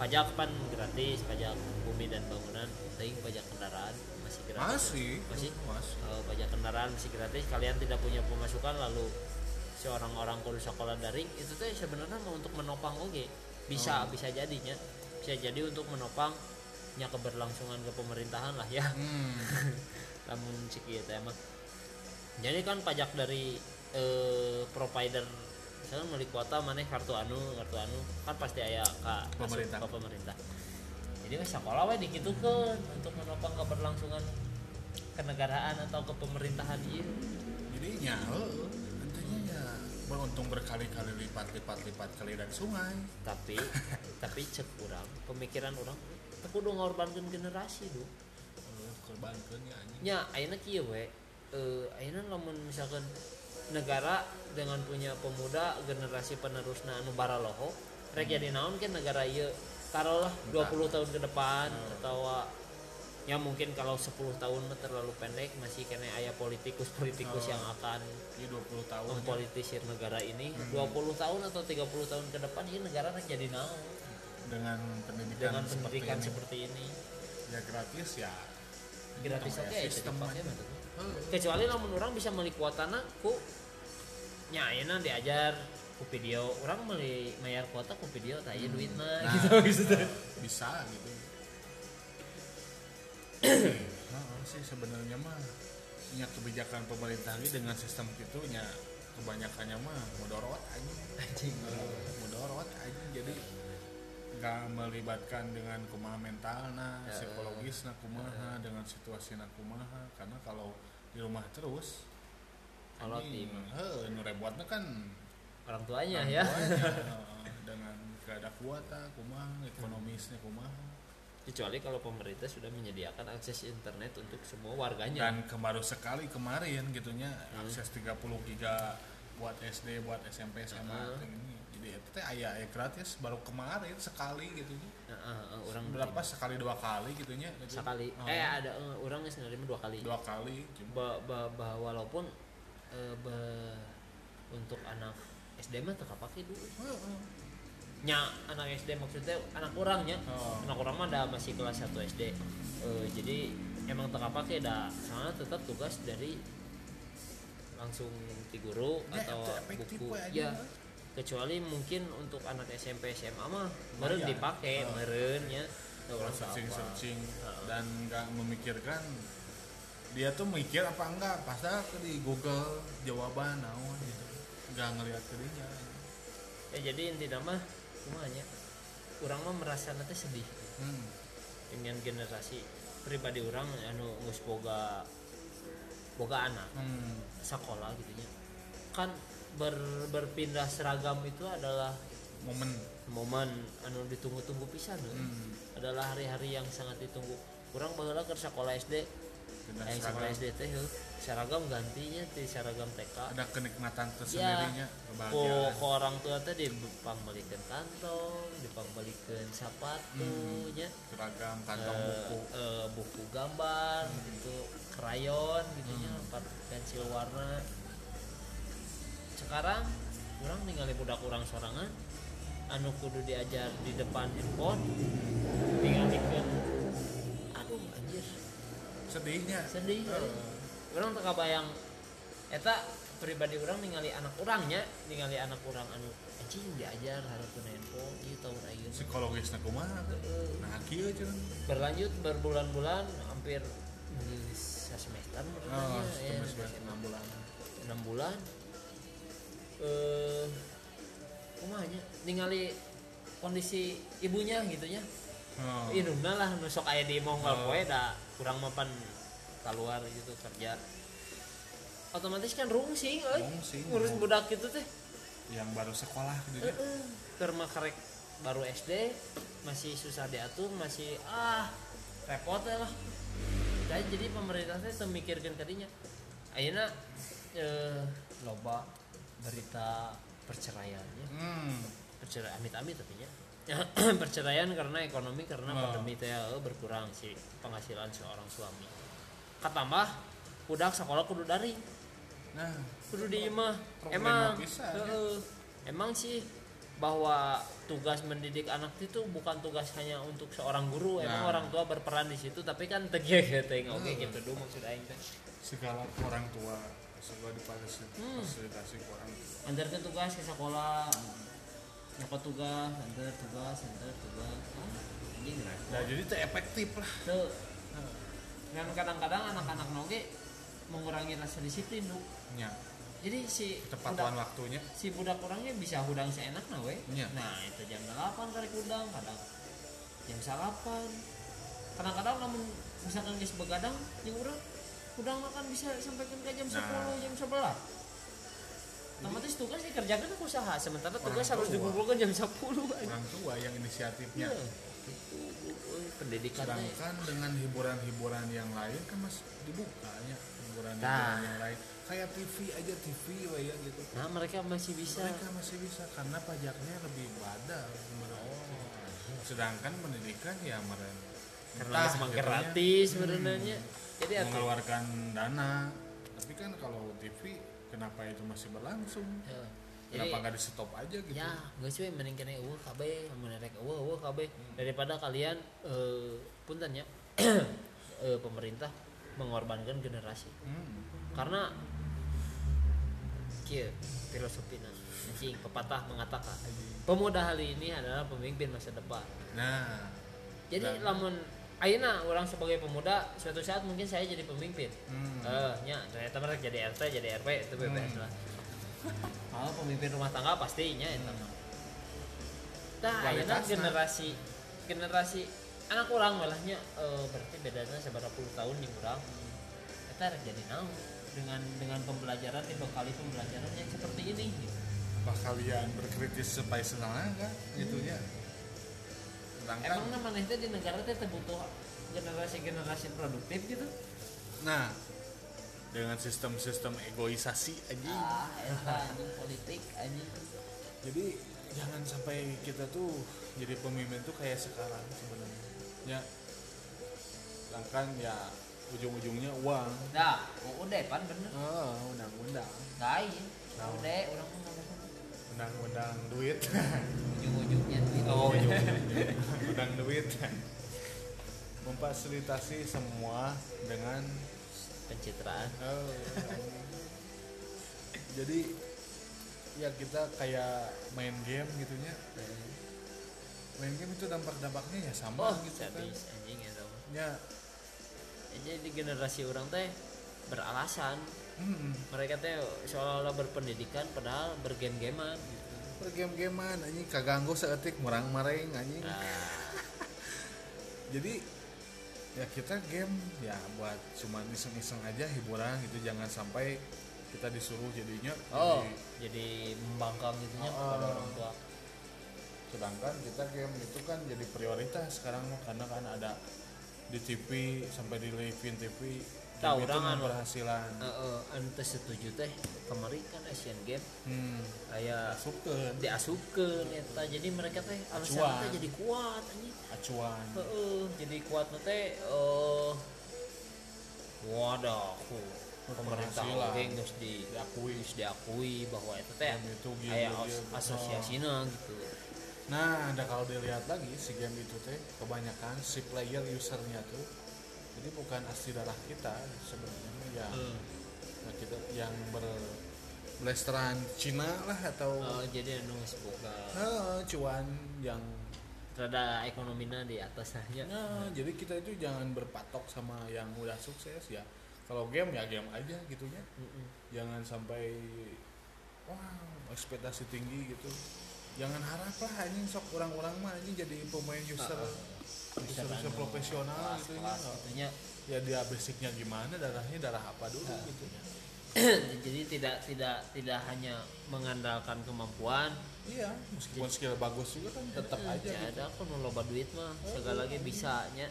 S1: pajak pan gratis pajak bumi dan bangunan tapi pajak kendaraan masih gratis
S2: masih
S1: masih
S2: masih
S1: Eh, pajak kendaraan masih gratis kalian tidak punya pemasukan lalu seorang orang kudu sekolah daring itu teh sebenarnya mah untuk menopang oke bisa bisa jadinya bisa jadi untuk menopang nya keberlangsungan ke pemerintahan lah ya
S2: hmm.
S1: namun cik ieu teh mah jadi kan pajak dari eh, provider misalnya beli kuota maneh kartu anu kartu anu kan pasti aya ka asup
S2: Pemerintah.
S1: ka pemerintah jadi weh sekolah we dikitukeun untuk menopang keberlangsungan kenegaraan atau kepemerintahan ieu
S2: jadi nya heuh, intinya ya beruntung berkali-kali lipat-lipat-lipat kali dan sungai
S1: tapi tapi cek urang pemikiran orang kudu ngorbankeun generasi duh
S2: Eh, korbankeun ya anjing
S1: nya ayeuna kieu we eh ayeuna lamun misalkan negara dengan punya pemuda generasi penerusna anu baraloho rek jadi naon ke negara ieu taruhlah 20 tahun ke depan
S2: Hmm.
S1: atau ya mungkin kalau 10 tahun mah terlalu pendek masih kena aya politikus-politikus
S2: Hmm.
S1: yang akan
S2: ini 20 tahun ya.
S1: mempolitisir negara ini 20
S2: Hmm.
S1: tahun atau 30 tahun ke depan ini negara rek jadi naon
S2: dengan pendidikan
S1: dengan
S2: seperti
S1: pendidikan
S2: ini.
S1: seperti ini
S2: ya gratis ya
S1: gratis
S2: Sistem
S1: oke
S2: ya,
S1: itu
S2: sistem
S1: dipakai
S2: aja.
S1: mah.
S2: Heuh.
S1: kecuali lamun orang bisa meli kuotana ku nyaina diajar ku video orang meli mayar kuota ku video tak iya duitna
S2: Nah.
S1: gitu maksudnya.
S2: bisa gitu nah, sih sebenarnya mah punya kebijakan pemerintah ini dengan sistem itu nya kebanyakannya mah mudorot aja
S1: anjing
S2: mudorot aja jadi nggak melibatkan dengan kumaha mentalna
S1: Ya.
S2: psikologisna kumaha dengan situasina kumaha karena kalau di rumah terus
S1: Kalau
S2: ini,
S1: tim.
S2: heuh, nu repotna kan
S1: orang tuanya
S2: orang
S1: ya
S2: tuanya, heeh, dengan gak ada kuota kumaha
S1: Iya.
S2: ekonomisnya kumaha
S1: kecuali kalau pemerintah sudah menyediakan akses internet untuk semua warganya
S2: dan kemarin sekali kemarin gitunya
S1: Iya.
S2: akses 30 giga buat SD buat SMP SMA
S1: Heeh.
S2: teh ini jadi itu teh aya aya gratis baru kemarin sekali gitu
S1: Nah, eh, eh, orang
S2: berapa
S1: terima.
S2: sekali dua kali gitunya gitu.
S1: sekali
S2: Oh,
S1: eh ada eh, orang geus nerima dua kali
S2: dua kali cuma
S1: ba, ba, ba- walaupun eh, ba- untuk anak SD mah teu kapake dulu nya anak SD maksudnya anak orangnya
S2: Oh.
S1: anak orang mah ada masih kelas 1 SD Eh, jadi emang teu kapake da soalnya tetap tugas dari langsung ti guru
S2: Ya,
S1: atau
S2: itu efektif
S1: buku
S2: we aja.
S1: ya kecuali mungkin untuk anak SMP SMA mah
S2: Lumayan.
S1: meureun dipake
S2: Oh.
S1: meureun nya Teu urang teu
S2: searching
S1: apa.
S2: searching
S1: Heeh.
S2: dan nggak memikirkan dia tuh mikir apa enggak pasal di Google jawaban naon gitu nggak ngelihat ke dinya
S1: ya jadi intinya mah kumanya orang mah merasa nanti sedih
S2: hmm.
S1: dengan generasi pribadi orang anu ngus boga boga anak
S2: Hmm.
S1: sekolah gitu nya kan ber- berpindah seragam itu adalah
S2: momen
S1: momen anu ditunggu-tunggu pisan eh.
S2: Hmm.
S1: adalah hari-hari yang sangat ditunggu kurang baheula ke sekolah SD
S2: Pindah
S1: eh, sekolah
S2: Nah, seragam.
S1: SD teh heuh. seragam gantinya di seragam TK
S2: ada kenikmatan tersendirinya
S1: ku,
S2: kebahagiaan
S1: ku orang tua teh dipangbalikan kantong dipangbalikan sepatu
S2: Hmm.
S1: nya
S2: seragam kantong
S1: Eh,
S2: buku
S1: eh, buku gambar gitu krayon gitu nya
S2: Hmm.
S1: par- pensil warna sekarang kurang ningali budak kurang sorangan anu kudu diajar di depan handphone tinggal dikeun aduh anjir
S2: sedihnya
S1: sedih
S2: Eh,
S1: orang teka bayang eta pribadi orang ningali anak orangnya ningali anak orang anu anjing diajar harapun handphone ieu Eh. tahun ayeuna
S2: psikologisnya kumaha tuh.
S1: Heeh.
S2: nah kieu cuman
S1: berlanjut berbulan-bulan hampir di semester
S2: oh,
S1: menurutnya ya,
S2: cuma sebelas enam bulan
S1: enam bulan eh kumanya ningali kondisi ibunya gitu ya
S2: Oh.
S1: indungna lah nusok aya di mongol
S2: Oh.
S1: poe da kurang mapan keluar gitu kerja otomatis kan rungsing euy
S2: Rungsing,
S1: ngurus
S2: rungsing.
S1: budak gitu teh
S2: yang baru sekolah gitu ya.
S1: Heeh, keur mah karek baru SD masih susah diatur masih ah repot ya lah Dan jadi pemerintah teh teu mikirkeun kadinya ayeuna eh, loba berita perceraiannya
S2: hmm.
S1: perceraian amit-amit tapi nya perceraian karena ekonomi karena
S2: Oh.
S1: pandemi teh eh, berkurang si penghasilan seorang suami katambah budak sekolah kudu daring
S2: nah
S1: kudu di imah emang
S2: Problema pisan, ya.
S1: heeh. emang sih bahwa tugas mendidik anak itu bukan tugas hanya untuk seorang guru emang
S2: Nah.
S1: orang tua berperan di situ tapi kan tegi tegi oke
S2: Hmm.
S1: gitu dulu maksud aing teh
S2: segala orang tua segala difasilitasi
S1: Hmm.
S2: fasilitasi orang tua
S1: antarkan tugas ke sekolah nyokot tugas antar tugas antar tugas Ah, anjing repot.
S2: nah jadi itu efektif lah
S1: Tuh. dan kadang-kadang anak-anak noge mengurangi rasa disiplin lu
S2: nya
S1: jadi si
S2: ketepatuan
S1: budak-
S2: waktunya
S1: si budak orangnya bisa hudang seenaknya we
S2: Iya.
S1: nah itu jam 8 karek hudang kadang jam 8 kadang-kadang namun misalkan guys begadang yang urang hudang makan bisa sampai ke jam 10
S2: Nah.
S1: jam 11 otomatis tugas dikerjakan aku usaha sementara tugas
S2: Orang
S1: harus
S2: tua. Nah, iya.
S1: dikumpulkan jam 10 aja.
S2: orang tua yang inisiatifnya
S1: Iya. Itu, eh, pendidikan teh.
S2: sedangkan dengan hiburan-hiburan yang lain kan mas dibukanya hiburan-hiburan
S1: Nah.
S2: yang lain kayak TV aja TV we ya gitu
S1: nah mereka masih bisa
S2: mereka masih bisa karena pajaknya lebih badal
S1: Oh.
S2: sedangkan pendidikan ya gitu, mereka
S1: karena memang
S2: ya.
S1: gratis sebenarnya
S2: Hmm.
S1: jadi aku
S2: mengeluarkan dana tapi kan kalau TV kenapa itu masih berlangsung
S1: Eh,
S2: kenapa nggak di stop aja gitu
S1: ya guys we mending kena eueuh kabeh mun rek eueuh eueuh kabeh daripada kalian eh punten ya eh, pemerintah mengorbankan generasi
S2: Hmm.
S1: karena kieu filosofina anjing pepatah mengatakan pemuda hari ini adalah pemimpin masa depan
S2: nah
S1: jadi lamun ayeuna orang sebagai pemuda suatu saat mungkin saya jadi pemimpin
S2: hmm.
S1: Eh, nya ternyata mereka jadi RT, jadi RW itu bebas
S2: Hmm.
S1: lah. kalau pemimpin rumah tangga pastinya itu mah Tah, ayeuna
S2: Kualitasna.
S1: Nah, generasi generasi anak orang malahnya eh, berarti bedanya seberapa puluh tahun di orang kita jadi naon dengan dengan pembelajaran tiga kali pembelajaran yang seperti ini gitu.
S2: Bah kalian berkritis sampai senang kan gitunya. Sedangkan
S1: Hmm. emang mana itu di negara teh teu butuh generasi generasi produktif gitu
S2: nah dengan sistem-sistem egoisasi aja.
S1: ah eta anjing politik anjing
S2: Jadi jangan sampai kita tuh jadi pemimpin tuh kayak sekarang sebenarnya. Ya. Sedangkan ya ujung-ujungnya uang.
S1: nah UUD pan bener
S2: Oh, undang-undang.
S1: lain
S2: Nah.
S1: UUD orang mah ngomong
S2: Undang-undang duit.
S1: ujung-ujungnya gitu.
S2: Oh, undang duit. Memfasilitasi semua dengan
S1: pencitraan
S2: Oh, iya. Jadi ya kita kayak main game gitunya. Main game itu dampak-dampaknya ya sama
S1: oh
S2: gitu kan.
S1: habis anjing ya tau
S2: Ya,
S1: jadi generasi orang teh beralasan
S2: hmm,
S1: mereka teh seolah-olah berpendidikan padahal bergame-gamean gitu.
S2: pergame-gamean anjing kaganggu seetik murang mareng anjing.
S1: nah,
S2: Jadi ya kita game ya buat cuman iseng-iseng aja hiburan gitu jangan sampai kita disuruh jadinya
S1: oh
S2: jadi-
S1: jadi membangkang gitunya
S2: Oh.
S1: kepada orang tua
S2: sedangkan kita game itu kan jadi prioritas sekarang mah karena kan ada di TV sampai di living TV
S1: Tahu,
S2: game itu
S1: orang
S2: mah
S1: anu.
S2: berhasilan
S1: Heeh, anu teh setuju teh kemarin kan Asian Games
S2: hmm
S1: aya
S2: masukkan
S1: diasupkeun eta jadi mereka teh
S2: Acuan.
S1: alasan teh jadi kuat anjing
S2: acuan
S1: Heeh, jadi kuat na teh eh wadah pemerintah
S2: Berhasilan.
S1: oge geus di
S2: diakui Iya,
S1: geus diakui bahwa itu teh
S2: Game itu gila
S1: aya
S2: dia,
S1: as-
S2: bener.
S1: asosiasina gitu
S2: nah ada kalau dilihat lagi si game itu teh kebanyakan si player usernya tuh jadi bukan asli darah kita sebenarnya mah ya
S1: Hmm.
S2: ya kita yang ber blasteran Cina lah atau
S1: Eh, jadi anu geus boga
S2: eh, cuan yang
S1: rada ekonominya di atas aja
S2: Nah, jadi kita itu jangan berpatok sama yang udah sukses ya. Kalau game ya game aja gitunya.
S1: Heeh.
S2: Jangan sampai wow, ekspektasi tinggi gitu. Jangan harap lah anjing sok orang-orang mah anjing jadi pemain user
S1: Ah, ah.
S2: user, user
S1: anu
S2: profesional gitu
S1: kelas-kelas gitunya.
S2: ya dia basicnya gimana darahnya darah apa dulu
S1: Ah.
S2: gitu
S1: jadi tidak tidak tidak hanya mengandalkan kemampuan
S2: iya meskipun skill bagus juga kan tetap
S1: eh,
S2: aja gitu.
S1: ada kan loba duit mah segala lagi bisa nya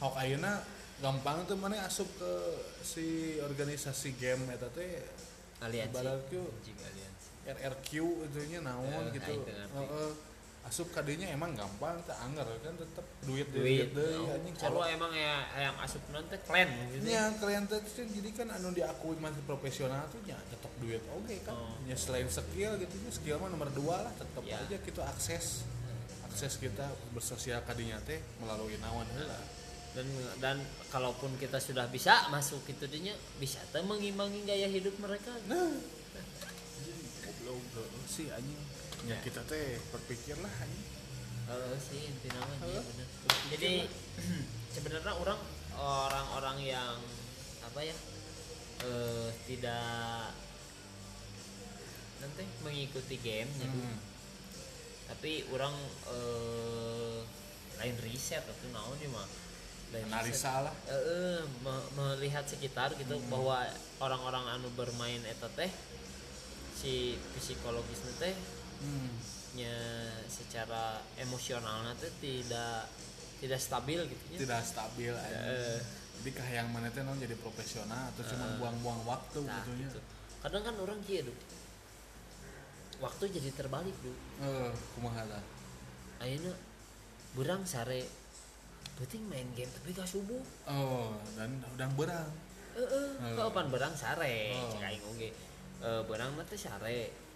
S2: Hok ayeuna gampang tuh mana asup ke si organisasi game eta teh
S1: aliansi
S2: Ibarat ku-
S1: Anjing, aliansi
S2: RRQ itunya
S1: Eh,
S2: naon gitu.
S1: aing teu ngarti.
S2: Heeh. asup kadenya emang gampang teh anger kan tetep duit
S1: duit
S2: duit
S1: no.
S2: deui anjing
S1: kalau
S2: kalau
S1: emang ya yang asup nanti klan gitu
S2: Ya, kalian teh tuh jadi kan anu diakui masih profesional tuh ya tetap duit oke kan.
S1: Oh.
S2: Ya selain skill gitu ya skill mah nomor dua lah tetap
S1: Ya.
S2: aja kita akses akses kita bersosial kadinya teh melalui naon heula.
S1: dan dan kalaupun kita sudah bisa masuk itu dinya bisa teh mengimbangi gaya hidup mereka
S2: Nah. Goblok heeh sih anjing.
S1: Ya.
S2: Ya kita teh berpikirlah anjing.
S1: Heeh sih inti nama dia,
S2: Heeh.
S1: bener. Jadi sebenarnya orang orang-orang yang apa ya eh tidak nanti mengikuti game ya.
S2: Hmm.
S1: tapi orang eh, lain riset atau naon ya mah lain riset.
S2: Analisa lah.
S1: Eh, eh, me- melihat sekitar gitu bahwa orang-orang anu bermain eta teh si psikologisnya teh
S2: Hmm.
S1: nya secara emosionalnya tuh tidak tidak stabil gitu ya.
S2: tidak stabil aja.
S1: Heeh.
S2: Jadi kahayang mana teh naon jadi profesional atau cuma buang-buang waktu
S1: Eh. Nah,
S2: gitunya.
S1: gitu. Kadang kan orang kieu Duk. Waktu jadi terbalik, Duk.
S2: Heeh, Eh, kumaha tah?
S1: Ayeuna burang sare penting main game tapi gak subuh.
S2: Oh, dan udang berang.
S1: Heeh,
S2: Heeh.
S1: kapan berang sare
S2: Oh.
S1: cek aing oge. Eh, berang mah teh sare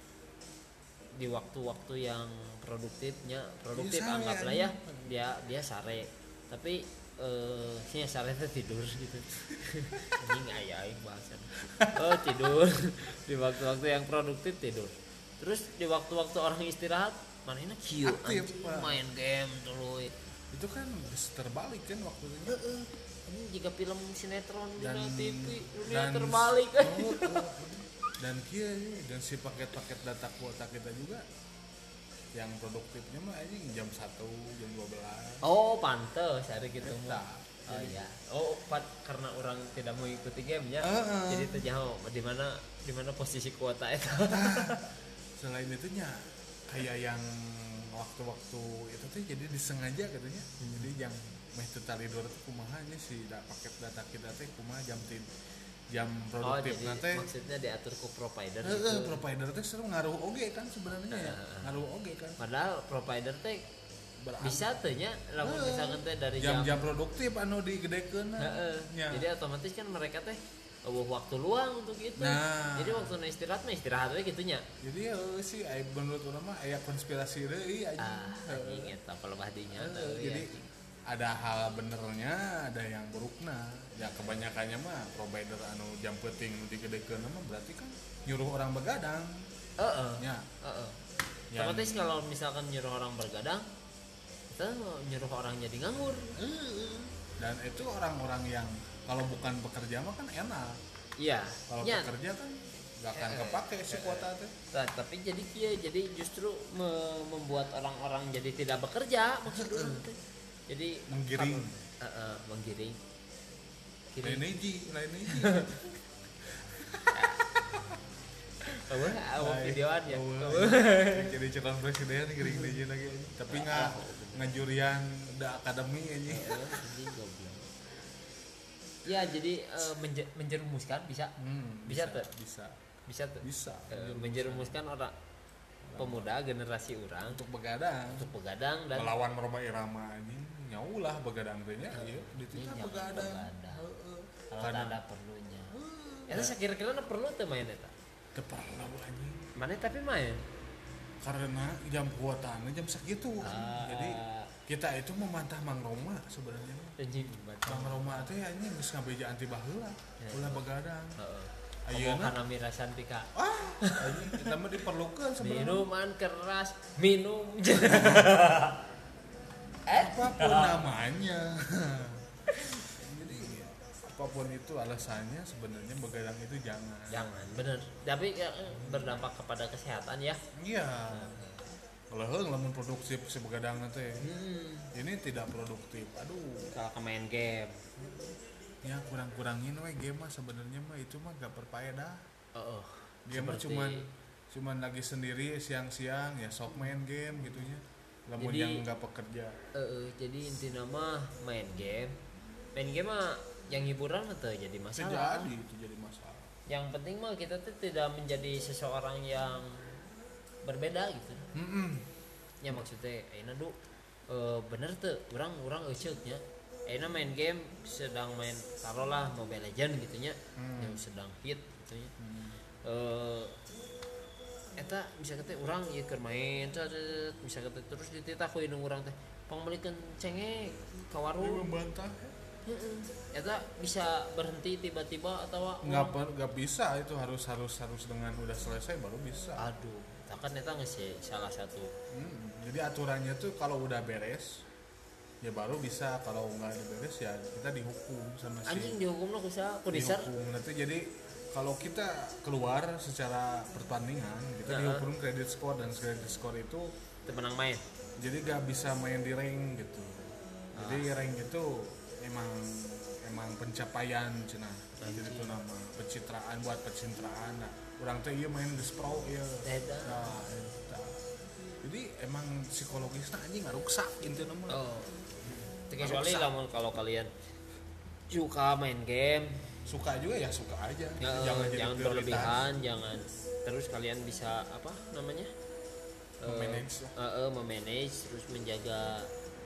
S1: di waktu-waktu yang produktifnya produktif
S2: Iya, sare,
S1: anggaplah ya
S2: anjing.
S1: dia dia sare tapi eh sih sare teh tidur gitu anjing aya aing bahasan oh tidur di waktu-waktu yang produktif tidur terus di waktu-waktu orang istirahat manehna kieu
S2: Aktif,
S1: anjing,
S2: Pak.
S1: main game dulu
S2: Itu kan geus terbalik kan waktunya.
S1: Heeh. Ini jika film sinetron di
S2: Dan
S1: TV dunia
S2: dan
S1: terbalik
S2: Oh, oh. dan kia dan si paket-paket data kuota kita juga yang produktifnya mah anjing jam 1 jam 12
S1: oh pantes hari gitu
S2: Eta.
S1: mah oh iya oh pat karena orang tidak mau ikuti gamenya
S2: Heeh.
S1: jadi terjauh di mana di mana posisi kuota itu
S2: selain itu nya kayak yang waktu-waktu itu tuh jadi disengaja katanya
S1: Hmm.
S2: jadi yang meh teu talidor tuh kumaha nya si da, paket data kita teh kumaha jam tin jam
S1: oh
S2: produktif
S1: jadi
S2: nanti
S1: maksudnya diatur ke provider gitu
S2: Heeh, provider teh seru ngaruh oge kan sebenarnya ya
S1: Heeh.
S2: ngaruh oge kan
S1: padahal provider teh
S2: Berarti
S1: bisa tuh nya lamun
S2: Heeh.
S1: misalkan teh dari jam,
S2: jam-jam produktif anu digedekeun nah.
S1: Heeh.
S2: Nya.
S1: jadi otomatis kan mereka teh eueuh waktu luang untuk itu
S2: Nah.
S1: jadi waktu na istirahat mah istirahat we gitu nya
S2: jadi ya sih ai- menurut urang mah aya konspirasi deui anjing
S1: ah
S2: Heeh.
S1: anjing eta pelebah dinya
S2: Eh,
S1: teu,
S2: jadi
S1: ya.
S2: ada hal benernya ada yang buruknya ya kebanyakannya mah provider anu jam penting nu digedekeun mah berarti kan nyuruh orang begadang
S1: Heeh.
S2: ya
S1: Heeh.
S2: Yang-
S1: Otomatis kalau misalkan nyuruh orang bergadang, kita nyuruh orang jadi nganggur.
S2: dan itu orang-orang yang kalau bukan pekerja mah kan enak
S1: Iya.
S2: kalau
S1: Nya,
S2: pekerja kan gak akan
S1: Eh,
S2: kepake si kuota teh
S1: Nah, tapi jadi kia jadi justru me- membuat orang-orang jadi tidak bekerja maksud orang teh. Jadi
S2: Menggiring.
S1: kamu- Heeh, menggiring. Giring.
S2: lain hiji lain hiji
S1: Eueuh, awak videoan ya. Eueuh.
S2: Eueuh. jadi calon presiden gering hiji lagi tapi nggak
S1: Oh.
S2: ngajurian da akademi ini
S1: Eueuh, anjing goblok. Ya jadi eh, menje- menjerumuskan bisa
S2: Hmm,
S1: Bisa tuh.
S2: bisa
S1: bisa tuh.
S2: bisa
S1: Eh, menjerumuskan orang pemuda generasi orang
S2: untuk begadang
S1: untuk begadang dan
S2: melawan Roma Irama ini nyaulah begadang teh nya ieu
S1: Iya,
S2: ditinggal
S1: nyawa
S2: begadang
S1: begadang.
S2: Heeh.
S1: kalau tak
S2: Kadang-
S1: ada perlunya Ya, eta sakira-kira na perlu teu main ya, eta
S2: teu perlu anjing
S1: mana tapi main
S2: karena jam kuotanya jam segitu
S1: Ah.
S2: jadi kita itu memantah Mang Roma sebenarnya
S1: anjing buat
S2: Mang Roma teh anjing geus ngabeja anti baheula
S1: Ya.
S2: ulah begadang
S1: ayo
S2: Ayeuna?
S1: kana mirasan pika
S2: ah anjing kita mah diperlukeun sebenarnya
S1: minuman keras minum eh
S2: apapun namanya jadi apapun itu alasannya sebenarnya begadang itu jangan
S1: jangan bener tapi ya, eh, berdampak kepada kesehatan ya
S2: Iya. Kalau heung lamun produktif si begadang teh. Ini tidak produktif. Aduh,
S1: Hmm. kalau ke main game
S2: ya kurang-kurangin we game mah sebenarnya mah itu mah gak berfaedah.
S1: oh, oh.
S2: Dia mah
S1: Seperti-
S2: cuman cuman lagi sendiri siang-siang ya sok main game gitunya. Lamun
S1: Jadi-
S2: yang nggak pekerja.
S1: Eh, eh, jadi inti nama main game main game mah yang hiburan atau jadi
S2: Bisa
S1: masalah
S2: jadi itu jadi masalah.
S1: yang penting mah kita tuh tidak menjadi seseorang yang berbeda gitu
S2: Mm-mm.
S1: ya maksudnya Aina du eh, bener tuh orang orang nya Aina main game sedang main taruhlah Mobile Legend gitunya yang sedang hit gitunya
S2: Hmm.
S1: eh eta bisa kata orang ya keur main cet, cet, cet, bisa kata terus dititah ku indung urang teh pangbelikeun cengeng ka
S2: Dia
S1: warung
S2: membantah.
S1: Heeh. eta bisa berhenti tiba-tiba atau
S2: Nggak per, nggak bisa itu harus harus harus dengan udah selesai baru bisa.
S1: aduh tak kan eta geus sih salah satu
S2: Hmm, jadi aturannya tuh kalau udah beres ya baru bisa kalau nggak ada beres ya kita dihukum sama si
S1: anjing dihukumna ku saha ku ya. disar
S2: dihukum nanti jadi kalau kita keluar secara pertandingan kita
S1: Ya.
S2: dihukum kredit skor dan kredit skor itu
S1: teu menang main
S2: jadi nggak bisa main di rank gitu jadi
S1: Ah.
S2: rank itu emang emang pencapaian cina jadi itu nama pencitraan buat pencitraan nah orang tuh iya main di pro iya
S1: Eta.
S2: Nah, eta. jadi emang psikologisnya anjing ngaruksak intinya mah
S1: oh kecuali lamun kalau kalian suka main game
S2: suka juga ya suka
S1: ya,
S2: aja jangan
S1: jangan,
S2: jadi prioritas
S1: berlebihan jangan terus kalian bisa apa namanya Eh,
S2: Memanage lah.
S1: eh, eh, memanage terus menjaga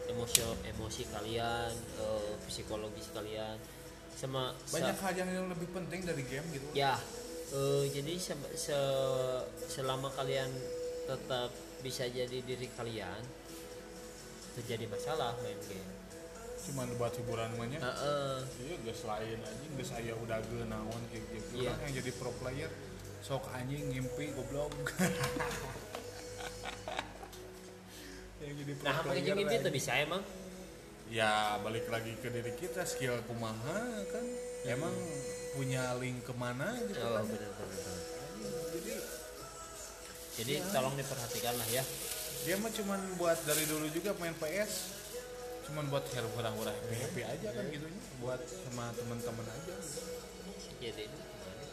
S1: emosi emosi kalian eh, psikologis kalian sama
S2: banyak
S1: sa-
S2: hal yang yang lebih penting dari game gitu
S1: ya eh, jadi se- se- selama kalian tetap bisa jadi diri kalian terjadi masalah main game
S2: cuman buat hiburan banyak
S1: Eh, eh.
S2: iya guys lain anjing guys aya udah naon kayak gitu
S1: Iya.
S2: Orang yang jadi pro player sok anjing ngimpi goblok yang jadi pro
S1: nah apa
S2: player
S1: kejadian itu
S2: anjing.
S1: bisa emang
S2: ya balik lagi ke diri kita skill
S1: Iya.
S2: kumaha kan emang punya link kemana gitu
S1: oh
S2: kan
S1: benar Ya. benar
S2: Anjing,
S1: jadi tolong diperhatikan lah ya
S2: dia mah cuman buat dari dulu juga main PS cuman buat hero hura-hura happy aja kan gitunya buat sama temen-temen aja
S1: jadi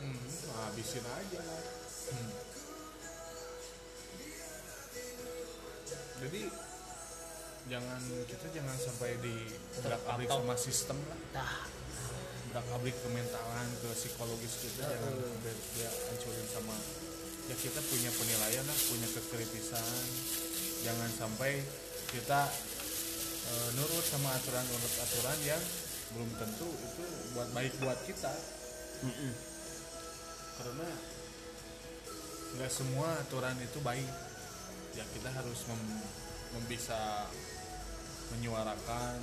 S2: hmm, habisin aja lah Hmm. jadi jangan kita jangan sampai di berak abrik
S1: Terpatok.
S2: sama sistem lah
S1: tah
S2: berak abrik ke mentalan ke psikologis kita jangan sampai dia hancurin sama ya kita punya penilaian lah punya kekritisan jangan sampai kita eh, nurut sama aturan nurut aturan yang belum tentu itu buat baik buat kita karena nggak semua aturan itu baik ya kita harus mem, mem- bisa menyuarakan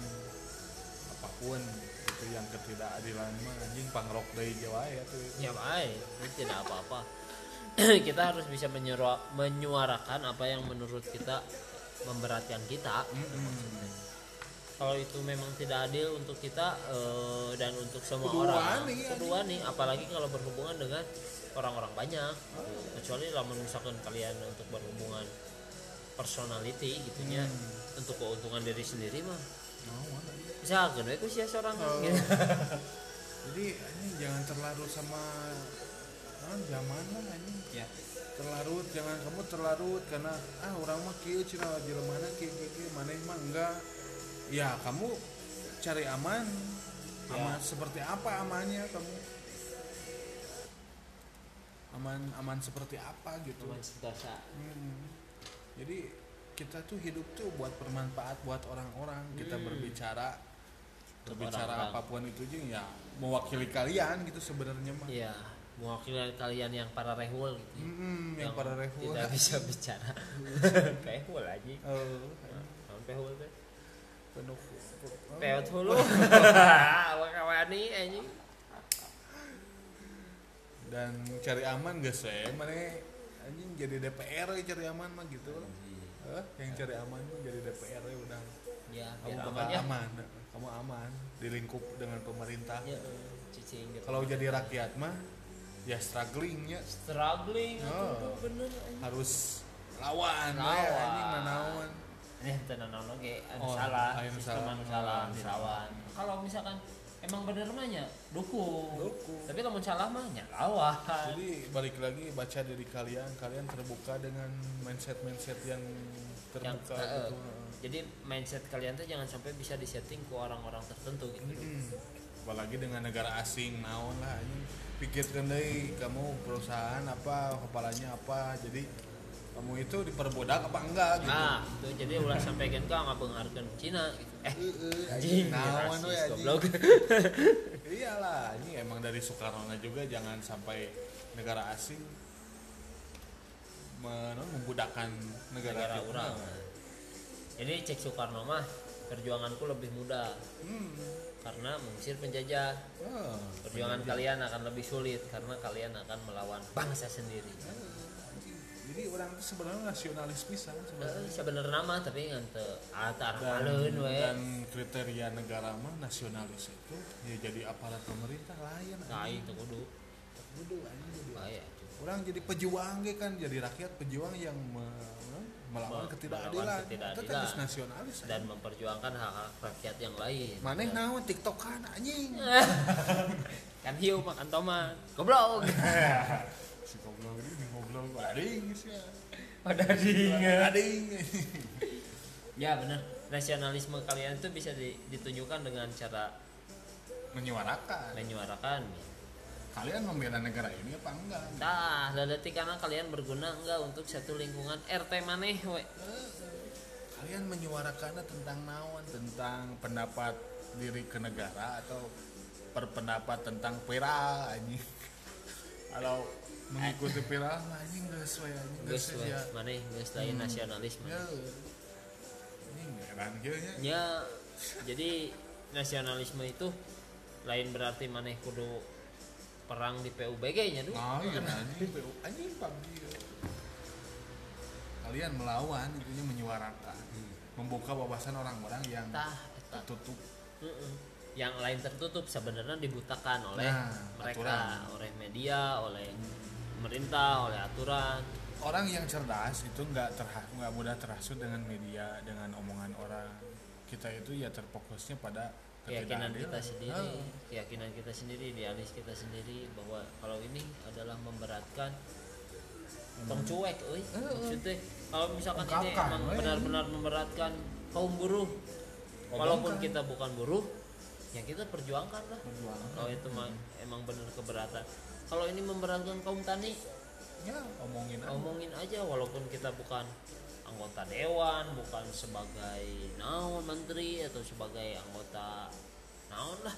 S2: apapun itu yang ketidakadilan mah anjing pangrok dari Jawa ya tuh
S1: ya baik itu tidak apa-apa kita harus bisa menyuara- menyuarakan apa yang menurut kita memberatkan kita
S2: Hmm.
S1: kalau itu memang tidak adil untuk kita eh, dan untuk semua
S2: Kudu
S1: orang
S2: wani,
S1: Kudu wani, apalagi kalau berhubungan dengan orang-orang banyak kecuali lamun misalkan kalian untuk berhubungan personality gitunya untuk keuntungan diri sendiri mah
S2: Mau, anjing.
S1: bisa gue itu sih seorang
S2: jadi anjing jangan terlarut sama ah, zaman lah anjing
S1: ya
S2: terlarut jangan kamu terlarut karena ah orang mah kieu cina mana kieu kieu kieu mana mah enggak ya kamu cari aman
S1: Ya.
S2: aman seperti apa amannya kamu aman aman seperti apa gitu
S1: teman sentosa
S2: Hmm. jadi kita tuh hidup tuh buat bermanfaat buat orang-orang kita berbicara
S1: Hmm. Untuk
S2: berbicara
S1: orang-orang.
S2: apapun itu jeng ya mewakili kalian gitu sebenarnya mah
S1: ya mewakili kalian yang para rehul gitu ya.
S2: Mm-mm, Hmm, yang para Oh, rehul
S1: tidak bisa bicara rehul aja
S2: Eh,
S1: Naon rehul teh
S2: penuh
S1: peot hulu wakawani anjing
S2: dan cari aman gak sih mana anjing jadi DPR ya cari aman mah gitu Eh, yang cari aman mah jadi DPR ya udah
S1: ya
S2: kamu
S1: biar
S2: bakal
S1: aman ya
S2: aman kamu aman di lingkup dengan pemerintah
S1: Ya, eh, cicing gitu.
S2: kalau jadi rakyat mah ya struggling ya
S1: struggling
S2: Oh.
S1: aduh bener anjing.
S2: harus lawan we,
S1: Lawan.
S2: anjing nanaon
S1: Eh, teu nanaon oge, anu
S2: Oh,
S1: salah,
S2: anu
S1: sistem
S2: salah,
S1: anu salah,
S2: anu
S1: dirawan. Kalau misalkan emang bener mah nya dukung.
S2: Dukung.
S1: Tapi lamun salah mah nya lawan.
S2: jadi balik lagi baca diri kalian kalian terbuka dengan mindset mindset yang
S1: Yang,
S2: terbuka
S1: eh, eh,
S2: gitu
S1: Jadi mindset kalian tuh jangan sampai bisa disetting ke orang-orang tertentu gitu.
S2: Mm-mm. Hmm. apalagi dengan negara asing naon lah anjing pikirkan deh kamu perusahaan apa kepalanya apa jadi kamu itu diperbudak apa enggak gitu
S1: Nah, itu jadi ulah sampai kan ka ngabeungarkeun Cina gitu. Eh,
S2: Heeh,
S1: anjing,
S2: naon
S1: rasis,
S2: we anjing
S1: goblok.
S2: iyalah ini emang dari Soekarno juga jangan sampai negara asing men- membudakkan negara,
S1: Negara
S2: kita.
S1: urang. Jadi cek Soekarno mah perjuanganku lebih mudah
S2: Hmm.
S1: karena mengusir penjajah.
S2: Ah,
S1: Perjuangan kalian akan lebih sulit karena kalian akan melawan bangsa sendiri.
S2: anjing. jadi orang itu sebenarnya nasionalis pisan
S1: Eh,
S2: sebenarnya
S1: sebenarnya nama tapi ngan teu atar
S2: dan,
S1: maleun we.
S2: dan kriteria negara mah nasionalis itu ya jadi aparat pemerintah lain
S1: Nah,
S2: anjing.
S1: itu kudu Nah, iya,
S2: Kudu, anjing, jadi
S1: bahaya.
S2: orang jadi pejuang ge kan jadi rakyat pejuang yang me- melawan
S1: Melawan
S2: ketidakadilan itu
S1: ketidakadilan.
S2: harus nasionalis anjing.
S1: Dan memperjuangkan hak-hak rakyat yang lain. Nah.
S2: maneh naon tiktokan anjing
S1: Eh. kan hiu makan tomat. Goblok.
S2: si goblok ini goblok ading sih
S1: Pada
S2: ading
S1: Ya benar. Nasionalisme kalian itu bisa di- ditunjukkan dengan cara
S2: menyuarakan
S1: menyuarakan.
S2: kalian membela negara ini apa enggak
S1: Nah, laleti karena kalian berguna enggak untuk satu lingkungan RT maneh we.
S2: kalian menyuarakannya tentang naon tentang pendapat diri ke negara atau perpendapat tentang viral anjing kalau mengikuti viral mah anjing gak sesuai anjing gak
S1: Geus
S2: sesuai
S1: we,
S2: ya Hmm.
S1: maneh geus lain nasionalisme.
S2: Ya. Iya, anjing heran kieu nya
S1: Ya, jadi nasionalisme itu lain berarti maneh kudu perang di PUBG nya dulu.
S2: Nah, iya, anjing PU anjing PUBG. ya. Kalian melawan intinya menyuarakan, membuka wawasan orang-orang yang
S1: Tah, eta.
S2: tertutup.
S1: Mm-mm. Yang lain tertutup sebenarnya dibutakan oleh
S2: Nah,
S1: mereka,
S2: aturan. Hmm.
S1: oleh media, oleh pemerintah oleh aturan
S2: orang yang cerdas itu nggak terha- nggak mudah terhasut dengan media dengan omongan orang kita itu ya terfokusnya pada
S1: keyakinan kita
S2: ketidakadilan.
S1: sendiri
S2: Heeh.
S1: keyakinan kita sendiri idealis kita sendiri bahwa kalau ini adalah memberatkan tong cuek euy maksudnya kalau misalkan ini
S2: Ungkapkan,
S1: emang
S2: euy.
S1: benar-benar memberatkan kaum buruh walaupun kita bukan buruh ya kita perjuangkan lah
S2: Perjuangkan.
S1: kalau itu mah emang benar keberatan kalau ini memberatkan kaum tani
S2: ya omongin aja.
S1: ngomongin aja walaupun kita bukan anggota dewan bukan sebagai naon menteri atau sebagai anggota naon lah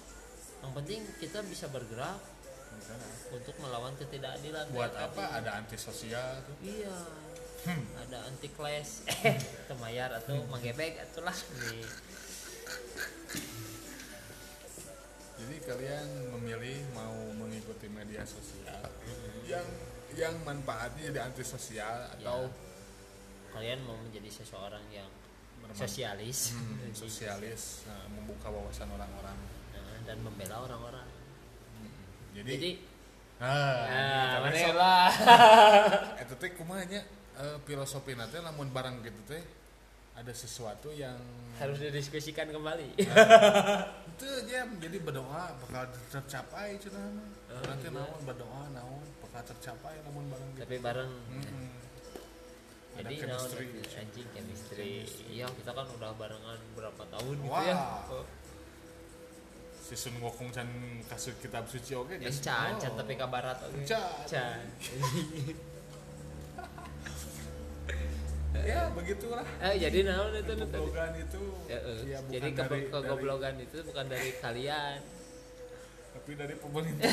S1: yang penting kita bisa bergerak
S2: Misalnya,
S1: untuk melawan ketidakadilan
S2: buat
S1: Kayak
S2: apa Hmm. ada antisosial tuh
S1: tadi. iya ada anti clash temayar atau
S2: Hmm.
S1: menggebek atulah di
S2: jadi kalian memilih mau mengikuti media sosial yang yang manfaatnya jadi antisosial atau
S1: Ya. kalian mau menjadi seseorang yang
S2: bermanfaat
S1: sosialis
S2: Hmm, sosialis nah, membuka wawasan orang-orang
S1: Nah, dan membela orang-orang
S2: jadi,
S1: jadi
S2: ah,
S1: nah,
S2: tapi
S1: mana
S2: sok-
S1: lah
S2: Eta teh kumaha nya eh, filosofina teh lamun barang gitu teh ada sesuatu yang
S1: harus didiskusikan kembali
S2: Ah. itu aja jadi berdoa bakal tercapai cenah mah.
S1: Eh,
S2: nanti
S1: iya.
S2: naon berdoa naon bakal tercapai lamun barang gitu.
S1: tapi bareng
S2: Mm-mm. Ada
S1: jadi naon ya,
S2: chemistry.
S1: itu, anjing chemistry iya kita kan udah barengan berapa tahun gitu
S2: Wah.
S1: ya
S2: Si Sun Wukong can kasut kitab suci oke
S1: yang Iya, can can tapi ke barat oke
S2: Can.
S1: can
S2: ya begitulah
S1: eh jadi naon itu nu tadi
S2: kegoblogan itu
S1: Ya, eh.
S2: ya, bukan
S1: jadi ke
S2: dari- dari-
S1: kegoblogan itu bukan dari kalian
S2: tapi dari pemerintah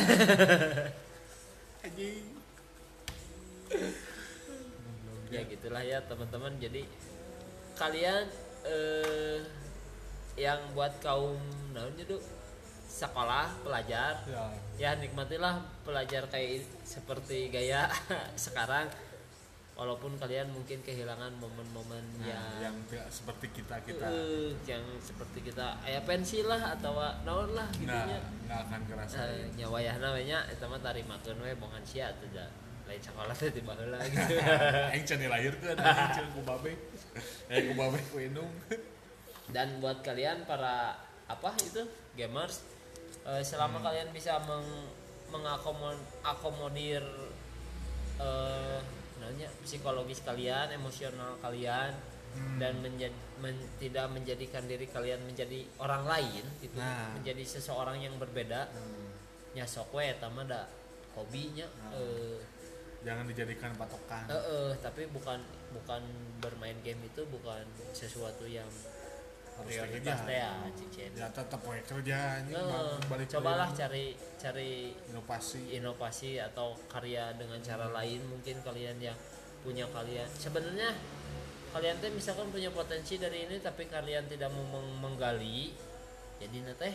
S2: anjing
S1: ya gitulah ya teman-teman jadi kalian eh yang buat kaum naon itu sekolah pelajar
S2: ya
S1: ya nikmatilah pelajar kayak i- seperti gaya sekarang walaupun kalian mungkin kehilangan momen-momen
S2: Nah,
S1: yang
S2: yang tidak seperti kita kita
S1: eh, yang seperti kita ayah pensi lah atau wa- naon lah gitu
S2: nah
S1: nya
S2: nggak akan kerasa
S1: Eh, nya wayahna we nya eta mah tarimakeun we bongan sia atuh da lain sakola teh tiba heula gitu
S2: Aing can dilahir kan, aing can ku babe, eh ku babe ku indung.
S1: dan buat kalian para apa itu gamers eh, selama
S2: Hmm.
S1: kalian bisa meng mengakomodir eh namanya psikologis kalian emosional kalian
S2: Hmm.
S1: dan menjadi men- tidak menjadikan diri kalian menjadi orang lain gitu
S2: Nah.
S1: menjadi seseorang yang berbeda nya sok we eta mah da hobinya
S2: Nah.
S1: eh,
S2: Jangan dijadikan patokan.
S1: Eh, eh, tapi bukan bukan bermain game itu bukan sesuatu yang
S2: Harus
S1: prioritas
S2: kerja.
S1: teh ya, Cicen.
S2: Ya tetap we kerja anjing,
S1: Eh,
S2: balik ke
S1: cobalah
S2: ini.
S1: cari cari Iya,
S2: inovasi.
S1: inovasi atau karya dengan cara lain mungkin kalian yang punya kalian sebenarnya kalian teh misalkan punya potensi dari ini tapi kalian tidak mau meng- menggali jadi na teh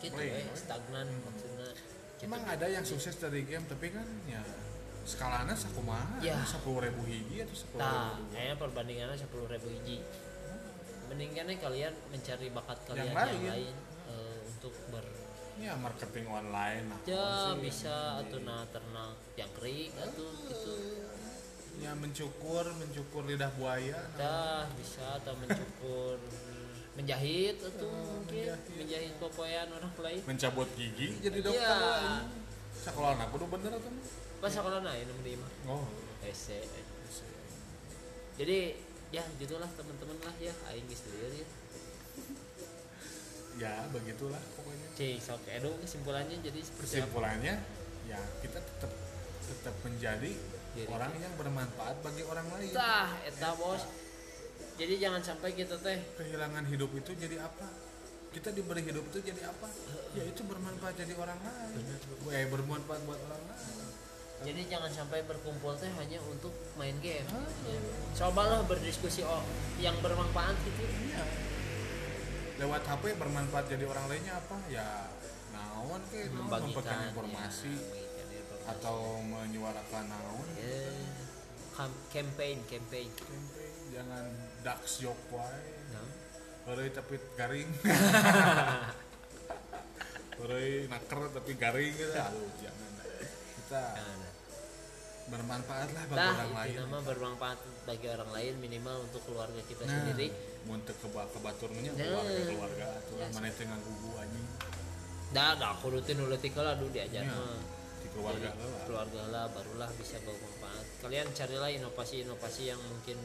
S1: gitu
S2: Boleh,
S1: eh
S2: boleh.
S1: stagnan maksudnya gitu.
S2: Emang ada yang sukses dari game tapi kan ya skalanya sakumaha,
S1: Ya.
S2: sepuluh ribu hiji atau sepuluh
S1: Nah,
S2: ribu dua.
S1: kayaknya perbandingannya 10.000 hiji. Mendingannya kalian mencari bakat kalian
S2: Yang ya.
S1: yang,
S2: lain.
S1: lain, eh, untuk ber
S2: Ya marketing online lah.
S1: ya
S2: Konsep.
S1: bisa atau nah ternak yang kering atau gitu.
S2: Ya mencukur, mencukur lidah buaya.
S1: Dah bisa atau mencukur menjahit atau mungkin
S2: menjahit.
S1: menjahit popoyan orang lain.
S2: Mencabut gigi jadi dokter.
S1: Iya.
S2: anjing. Sakulaan aku udah bener atau enggak?
S1: Pas sekolah nah ini menerima.
S2: Oh.
S1: Ese. Jadi ya gitulah teman-teman lah ya aing geus lieur ya.
S2: Ya, begitulah pokoknya.
S1: Cing sok edu kesimpulannya jadi seperti apa?
S2: Kesimpulannya ya kita tetap tetap menjadi
S1: Diri
S2: orang yang bermanfaat bagi orang lain.
S1: Tah, eta bos. Jadi jangan sampai kita teh
S2: Kehilangan hidup itu jadi apa? Kita diberi hidup itu jadi apa? Ya itu bermanfaat jadi orang lain. Eh, bermanfaat buat orang lain.
S1: jadi jangan sampai berkumpul teh hanya untuk main game. Cobalah berdiskusi oh, yang bermanfaat gitu.
S2: Iya. Lewat HP bermanfaat jadi orang lainnya apa? Ya naon ke naon,
S1: Membagikan
S2: memperkenalkan informasi
S1: ya, membagikan informasi.
S2: atau menyuarakan naon.
S1: Ya, kam- campaign, campaign.
S2: Campaign. Jangan dark joke wae.
S1: Nah,
S2: Horei tapi garing. Horei naker tapi garing gitu. Aduh, jangan. Itu tah
S1: Nah, nah.
S2: bermanfaat lah bagi
S1: Tah,
S2: orang lain
S1: itu nama bermanfaat bagi orang lain minimal untuk keluarga kita
S2: nah
S1: sendiri
S2: muntah ke kebaturnya
S1: Nah.
S2: keluarga keluarga tuh mana itu nggak gugu anjing
S1: dah dah aku rutin ulah tinggal aduh diajar
S2: Iya.
S1: mah
S2: di keluarga
S1: Jadi,
S2: lah
S1: keluarga lah barulah bisa bermanfaat kalian carilah inovasi-inovasi yang mungkin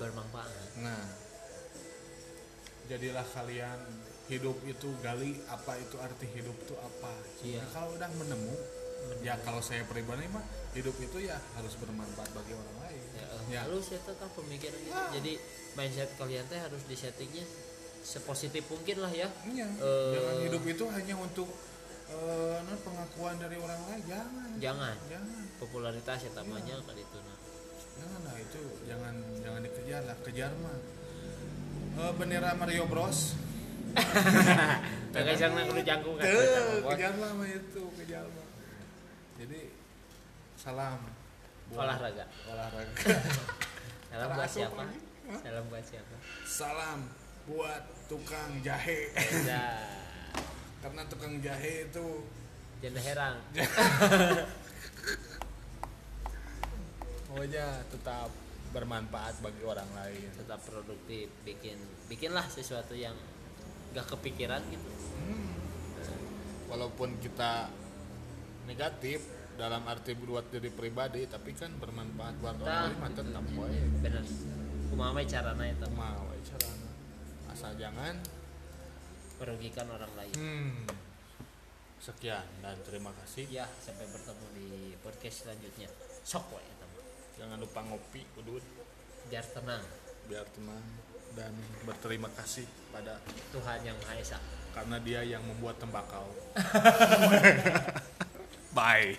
S1: bermanfaat
S2: Nah, jadilah kalian hidup itu gali apa itu arti hidup itu apa.
S1: Iya.
S2: Nah, kalau udah menemu, ya kalau saya pribadi mah hidup itu ya harus bermanfaat bagi orang lain.
S1: ya,
S2: Ya.
S1: eh, halus ya tetap pemikiran gitu. jadi mindset kalian teh harus disettingnya sepositif mungkin lah ya
S2: Iya.
S1: Eh.
S2: jangan hidup itu hanya untuk eh, non pengakuan dari orang lain, jangan.
S1: jangan
S2: Jangan,
S1: popularitas ya tamanya kan itu nah
S2: jangan lah itu jangan jangan dikejar lah, kejar mah. Eh, bendera Mario Bros.
S1: kayak jangan kudu jangkung kan
S2: Teu,
S1: jangkung,
S2: kejar mah mah itu, kejar mah. Jadi salam
S1: buat olahraga
S2: olahraga.
S1: salam
S2: Cara
S1: buat
S2: asup
S1: siapa
S2: lagi. Hah?
S1: salam buat siapa
S2: Salam buat tukang jahe
S1: nah
S2: karena tukang jahe itu
S1: janda herang
S2: pokoknya tetap bermanfaat bagi orang lain.
S1: tetap produktif bikin bikinlah sesuatu yang gak kepikiran gitu
S2: Hmm. Walaupun kita negatif dalam arti buat diri pribadi tapi kan bermanfaat buat
S1: Nah,
S2: orang lain mah
S1: gitu.
S2: tetap wae.
S1: bener kumaha we carana eta mah.
S2: Kumaha wae carana. Asal jangan
S1: merugikan orang lain
S2: Hmm. Sekian dan terima kasih.
S1: ya sampai bertemu di podcast selanjutnya sok we eta mah.
S2: Jangan lupa ngopi, udut,
S1: biar tenang
S2: biar tenang dan berterima kasih pada
S1: Tuhan yang Maha Esa
S2: karena dia yang membuat tembakau. Bye.